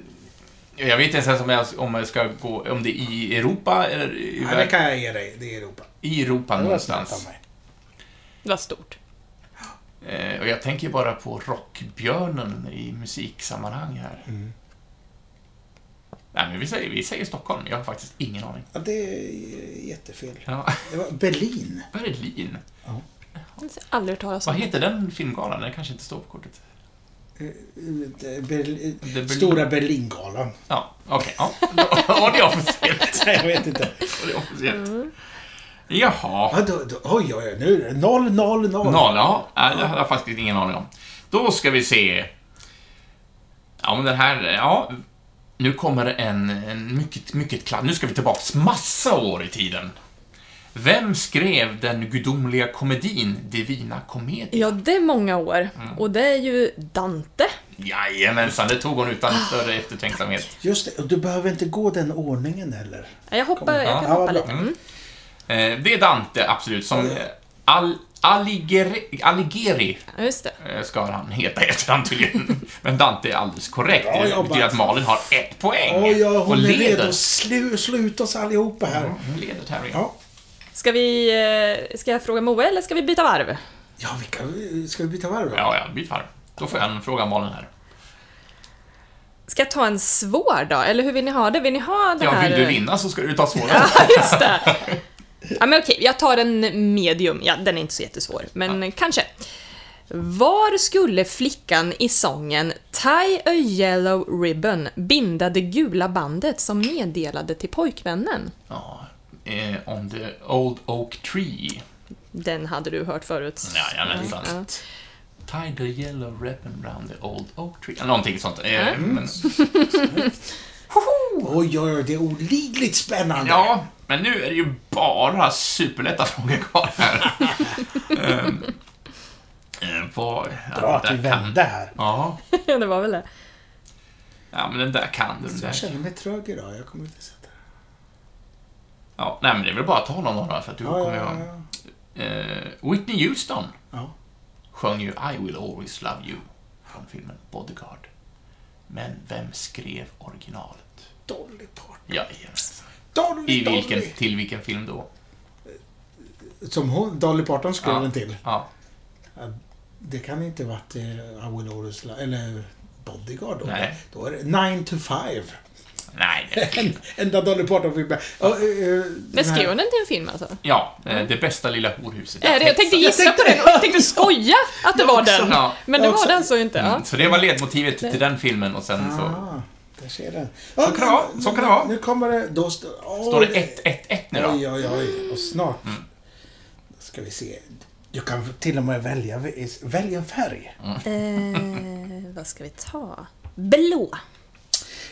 jag vet inte ens om jag, om jag ska gå... Om det är i Europa eller i,
ja, det kan jag ge dig. Det är Europa.
i Europa
Det var snällt av
någonstans.
mig.
Det var stort.
Eh, och jag tänker ju bara på Rockbjörnen i musiksammanhang här. Nej, men vi säger, vi säger Stockholm. Jag har faktiskt ingen aning.
Ja, det är jättefel.
Ja.
Det var Berlin.
Berlin.
Jag har aldrig hört talas om.
Vad heter den filmgalan? Den kanske inte står på kortet.
Eh, Berl-
Berlin.
Stora Berlingalan.
Ja, okej. Ja. Då var det officiellt.
Nej, jag vet inte.
Då var det officiellt. Jaha.
Ja, då, då, oj, oj, oj, nu är det noll, noll, noll.
Nala, ja. Nej, Det hade jag faktiskt ingen aning om. Då ska vi se. Ja, men den här, ja. Nu kommer en, en mycket, mycket klass. Nu ska vi tillbaks massa år i tiden. Vem skrev den gudomliga komedin Divina Komedien?
Ja, det är många år.
Mm.
Och det är ju Dante.
Jajamensan, det tog hon utan större eftertänksamhet.
Just det, och du behöver inte gå den ordningen heller.
Ja, Jag hoppar, jag kan
Ja,
hoppa
bra.
lite. Mm.
Eh, det är Dante, absolut, som eh, Al, Alighieri, Alighieri
Ja, just det.
eh, ska han heta efter han tydligen. Men Dante är alldeles korrekt.
Bra
det
jobbat.
betyder att Malin har ett poäng.
Oj, ja,
och
hon är redo
leder.
att slu, sluta oss allihopa här.
Hon leder tävlingen.
Ja.
Ska vi... eh, Ska jag fråga Moe eller ska vi byta varv?
ja, vi kan, ska vi byta varv då?
Ja, ja, byt varv. Då får jag en fråga av Malin här.
Ska jag ta en svår då? Eller hur vill ni ha det? Vill ni ha den
Ja,
här... eh,
vill du vinna så ska du ta svåra.
Ja, just det. Ja, men okej, jag tar en medium. Ja, den är inte så jättesvår, men kanske. Var skulle flickan i sången Tie a yellow ribbon binda det gula bandet som meddelade till pojkvännen?
Ja. Eh, on the old oak tree.
Den hade du hört förut. Mm,
Jajamensan.
Ja.
Tie the yellow ribbon round the old oak tree. Eller Någonting sånt. Eh,
Mm.
men,
Oj, oj, oj, det är olidligt spännande.
ja, men nu är det ju bara superlätta frågor kvar här. Ehm, eh, vad- ja,
Bra att
där
vi
kan-
vände här.
Ja,
det var väl det.
ja, men den där kan du. Den
Jag
där.
känner mig trög idag, jag kommer inte sätta det.
Ja, nej, men det är väl bara att ta någon av dem, för att du
Ja,
kommer ju
ja,
ha...
ja.
Eh, Whitney Houston
Ja.
sjöng ju I will always love you från filmen Bodyguard. Men vem skrev originalet?
Dolly Parton.
Jajamensan.
Dolly,
I vilken,
Dolly.
till vilken film då?
Som hon, Dolly Parton skrev
Ja.
den till.
Ja,
Det kan inte varit eh, I will always love, eller Bodyguard då.
Nej.
Då är det 9 to 5.
nej. det-
En, enda Dolly Parton-film. eh,
Men skrev hon den till en film alltså?
Ja, eh, Det bästa lilla horhuset.
Äh, det- jag tänkte
Jag
gissa på
tänkte-
den och jag tänkte skoja att det var den.
Ja.
Men det
Jag
var
också.
den så inte. Ja.
Mm, Så det var ledmotivet till den filmen och sen så
Ah, där ser den. Ja,
kan det vara, så kan det vara.
Nu kommer det... Då st- oj,
står det 1-1-1 nu då. Mm.
Oj, oj, oj. Och snart ska vi se. Du kan till och med välja, välja en färg.
Mm.
Mm.
Eh, vad ska vi ta? Blå.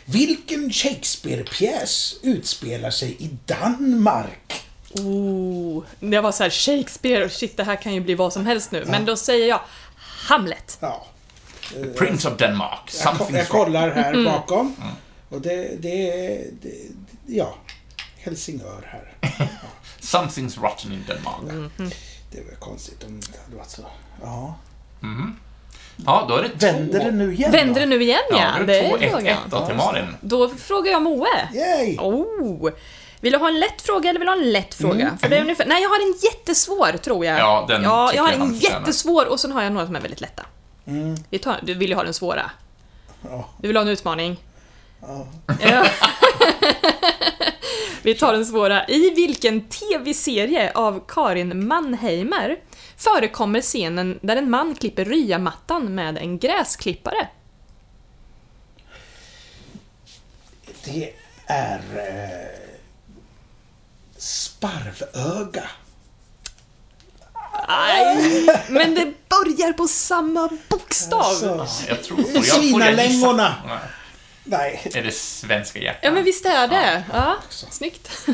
Vilken Shakespeare-pjäs utspelar sig i Danmark?
Oh, det var så här Shakespeare, shit det här kan ju bli vad som helst nu. Men då säger jag Hamlet.
Ja,
Prince of Denmark,
jag, ko-
Something's
jag
Wrong.
kollar här bakom.
Mm.
Och det, det är... Det, ja, Helsingör här.
Something's rotten in Denmark.
Mm. Det var konstigt om det hade varit så. Ja.
Ja, då är det två.
Vänder det nu igen
Vänder
då?
det nu igen ja,
Ja,
det
två
är
1 1
frågan.
då till Malin.
Då frågar jag Moe.
Yay!
Oh. Vill du ha en lätt fråga eller vill du ha en lätt fråga? För det är ungefär, nej, jag har en jättesvår tror jag.
Mm. Ja, den
ja,
tycker
jag har
jag
en
han förtjänar. Mm.
jättesvår och sen har jag några som är väldigt lätta. Vi tar, du vill ju ha den svåra.
Ja.
Du vill ha en utmaning? Ja. Vi tar den svåra. I vilken TV-serie av Karin Mannheimer förekommer scenen där en man klipper ryamattan med en gräsklippare?
Det är eh, sparvöga.
Aj, men det börjar på samma bokstav.
Alltså,
Jag tror på, jag tror jag
Svinalängorna.
gissar. Nej.
nej,
Är det svenska hjärtat?
Ja men visst är det? Ja, snyggt.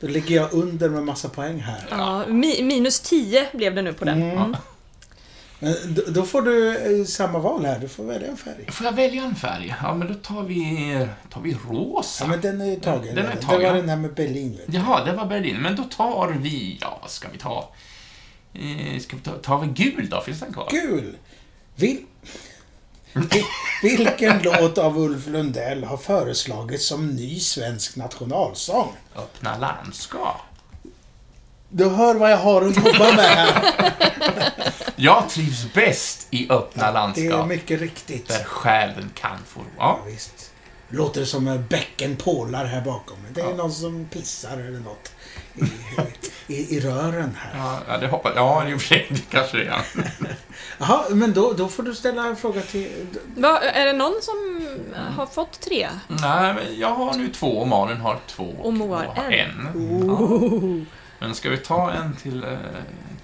då ligger jag under med massa poäng här.
Ja, mi- minus 10 blev det nu på den.
Men då, då får du eh, samma val här. Du får välja en färg.
Får jag välja en färg? Ja, men då tar vi, tar vi rosa.
Ja, men den är ju tagen.
Den är
Det
tagen.
var den här med Berlin. Vet du.
Jaha, det var Berlin. Men då tar vi... Ja, vad ska vi ta? Eh, Ska vi ta, tar vi gul då? Finns den kvar?
Kul! Vil... Vil- Vilken låt av Ulf Lundell har föreslagits som ny svensk nationalsång?
Öppna landskap.
Du hör vad jag har att jobba med här.
Jag trivs bäst i öppna
Det är
landskap.
mycket riktigt.
Där själen kan få... Ja,
Ja, visst. Låter det som en bäcken pålar här bakom. Det är någon som pissar eller något i, i, i rören här.
Ja, ja, det hoppas Ja, i och för sig, det kanske det är.
Jaha, men då, då får du ställa en fråga till...
Va, är det någon som har fått tre?
Nej, men jag har nu två och Malin har två.
Och Moa har
Moa har
en.
en. Ja. Men ska vi ta en till, eh,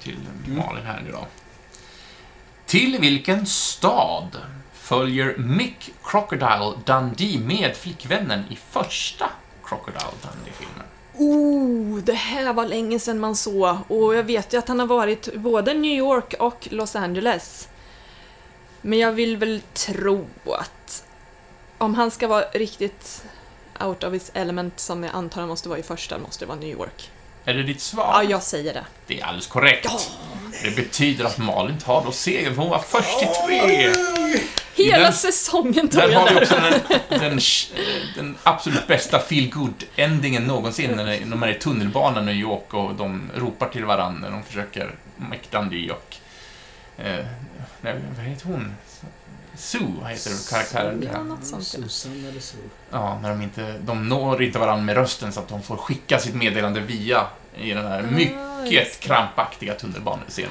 till
Mm.
Malin här nu då? Till vilken stad följer Mick Crocodile Dundee med flickvännen i första Crocodile Dundee-filmen?
Oh, det här var länge sedan man såg och jag vet ju att han har varit både New York och Los Angeles. Men jag vill väl tro att om han ska vara riktigt out of his element, som jag antar han måste vara i första, måste det vara New York.
Är det ditt svar?
Ja, jag säger det.
Det är alldeles korrekt.
Ja.
Det betyder att Malin tar då segern, för hon var först i tre.
Hela
den-
säsongen tog
Där
jag
har vi
där.
också den, den, den absolut bästa feel good endingen någonsin, när det- när man är i tunnelbanan i New York och de ropar till varandra när de försöker mäktandy och... Eh, nej, vad heter hon? Sue, vad heter karaktären?
Ja, något sånt. ja.
Susan eller så.
Ja, när de inte... De når inte varandra med rösten så att de får skicka sitt meddelande via i den
Ah,
här mycket krampaktiga tunnelbanescenen.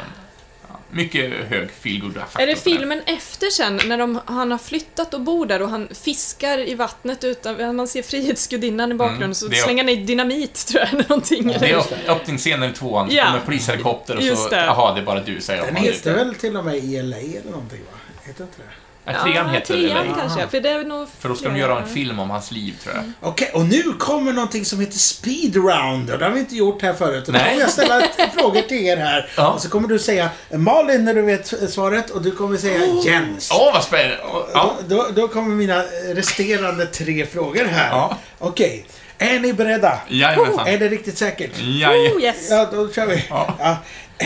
Ja, mycket hög feel good faktor
Är det filmen efter sen, när de, han har flyttat och bor där och han fiskar i vattnet utan, man ser Frihetsgudinnan i bakgrunden,
Mm,
så
det är-
slänger han i dynamit tror jag, eller någonting.
Det
eller?
är upp- öppningsscenen i tvåan,
Ja.
med polishelikopter och
Just
så...
det.
Jaha, det är bara du, säger
Den
de.
heter väl till och med ELA eller någonting va? Heter inte det?
Ja, trean heter det,
trean
eller?
kanske, för det är nog...
För då ska de göra en film om hans liv, tror jag.
Okej, och nu kommer någonting som heter speed round. Och det har vi inte gjort här förut. Och Då
Nej.
kommer jag ställa ett- frågor till er här.
Ja.
Och så kommer du säga Malin när du vet svaret och du kommer säga Jens.
Åh, vad spännande! Åh, Oh. Ja.
Då, då kommer mina resterande tre frågor här.
Ja.
Okej, är ni beredda? Är
Jajamensan.
det riktigt säkert?
Jajamensan.
Oh yes!
Ja, då kör vi.
Ja.
Ja.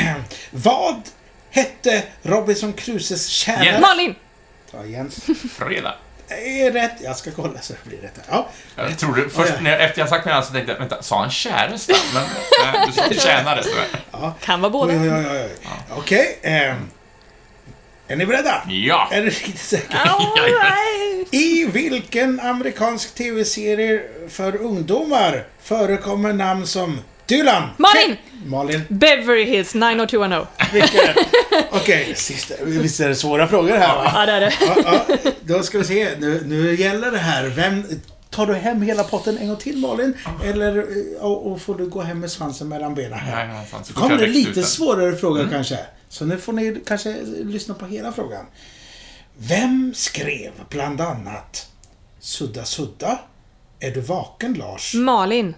Vad hette Robinson Crusoes tjänare?
Jens.
Malin!
Ja, Jens.
Fredag.
Är rätt. Jag ska kolla så det blir rätt. Ja.
Jag trodde, först
Oh, ja.
när jag, efter jag sagt mina så tänkte jag, vänta, sa han käresta? Men nej, du sa tjänare, så där.
Kan vara båda.
Oj, oj, oj, oj. Okej. ehm. Är ni beredda?
Ja!
Är du riktigt säker?
All right.
I vilken amerikansk tv-serie för ungdomar förekommer namn som Dylan?
Malin!
Ke- Malin.
Beverly Hills 90210.
Vilken? Okej, sista. Visst är det svåra frågor här va?
Ja, det är det.
Ja, ja, då ska vi se. Nu, nu gäller det här. Vem, tar du hem hela potten en gång till Malin? Eller eh, och, och får du gå hem med svansen mellan benen här?
Jajamensan, så Mm.
Så
fort jag
kommer det
växte ut
lite
den.
svårare frågor kanske. Så nu får ni kanske lyssna på hela frågan. Vem skrev bland annat Sudda Sudda? Är du vaken Lars?
Mm. Malin.
Malin.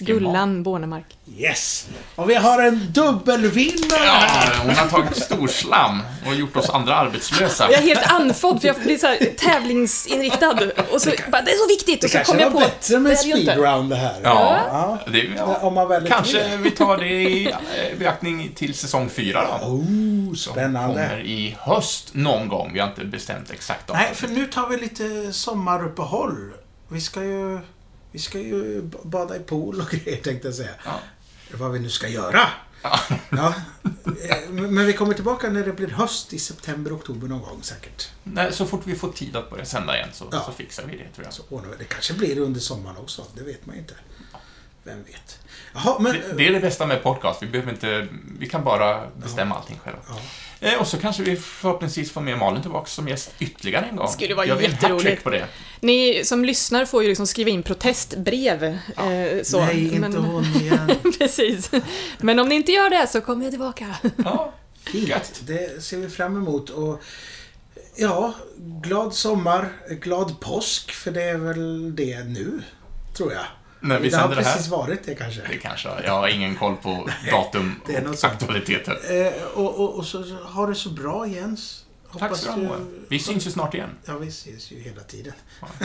Gullan Bornemark.
Yes! Och vi har en dubbelvinnare
Ja,
här!
hon har tagit storslam och gjort oss andra arbetslösa.
Jag är helt andfådd för jag blir så här tävlingsinriktad. Och så bara, det är så viktigt! Och så
Kanske
kom jag
var
på
bättre
det
med
är det ju inte.
speedround det här.
Ja, det, ja.
Om man väl inte
Kanske
vill.
vi tar det i eh, beaktning till säsong fyra
Oh,
då. Kommer
spännande.
i höst någon gång, vi har inte bestämt exakt datum.
Nej, för nu tar vi lite sommaruppehåll. Vi ska ju, vi ska ju b- bada i pool och grejer tänkte jag säga.
Ja.
Vad vi nu ska göra. Ja. Eh, Men vi kommer tillbaka när det blir höst i september, oktober någon gång säkert.
Nej, så fort vi får tid att börja sända igen så,
Ja.
så fixar vi det, tror jag.
Så ordnar vi. Det kanske blir under sommaren också, det vet man ju inte. Vem vet. Jaha, men... eh,
Det, det är det bästa med podcast, vi behöver inte... Vi kan bara bestämma allting själva. Eh, Och så kanske vi förhoppningsvis får med Malin tillbaka som gäst ytterligare en gång.
Skulle vara
jag vill
jätteroligt.
hattrick på det.
Ni som lyssnar får ju liksom skriva in protestbrev. Eh, så.
nej, inte
Men-
hon igen.
Precis. Men om ni inte gör det så kommer jag tillbaka.
Ja,
Fint.
Gött.
Det ser vi fram emot. Och ja, glad sommar, glad påsk, för det är väl det nu, tror jag.
När vi
det har
sänder det här.
precis varit det kanske.
det kanske... Jag har ingen koll på datum
det är något
och
sånt.
aktualiteter.
Eh, och, och, och så så har det så bra Jens.
Tack
Hoppas
så du ha, Moa. Vi syns ju snart igen.
Ja, vi ses ju hela tiden.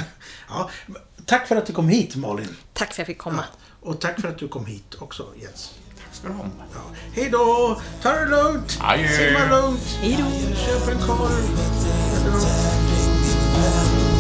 ja, men tack för att du kom hit Malin.
Tack för att jag fick komma.
Och tack för att du kom hit också Jens.
Tack ska du ha, Moa.
Ja. Hej då! Ta det lugnt!
Adjö.
Simma lugnt!
Hej då.
Köp en korv! Eller något.
Make me proud.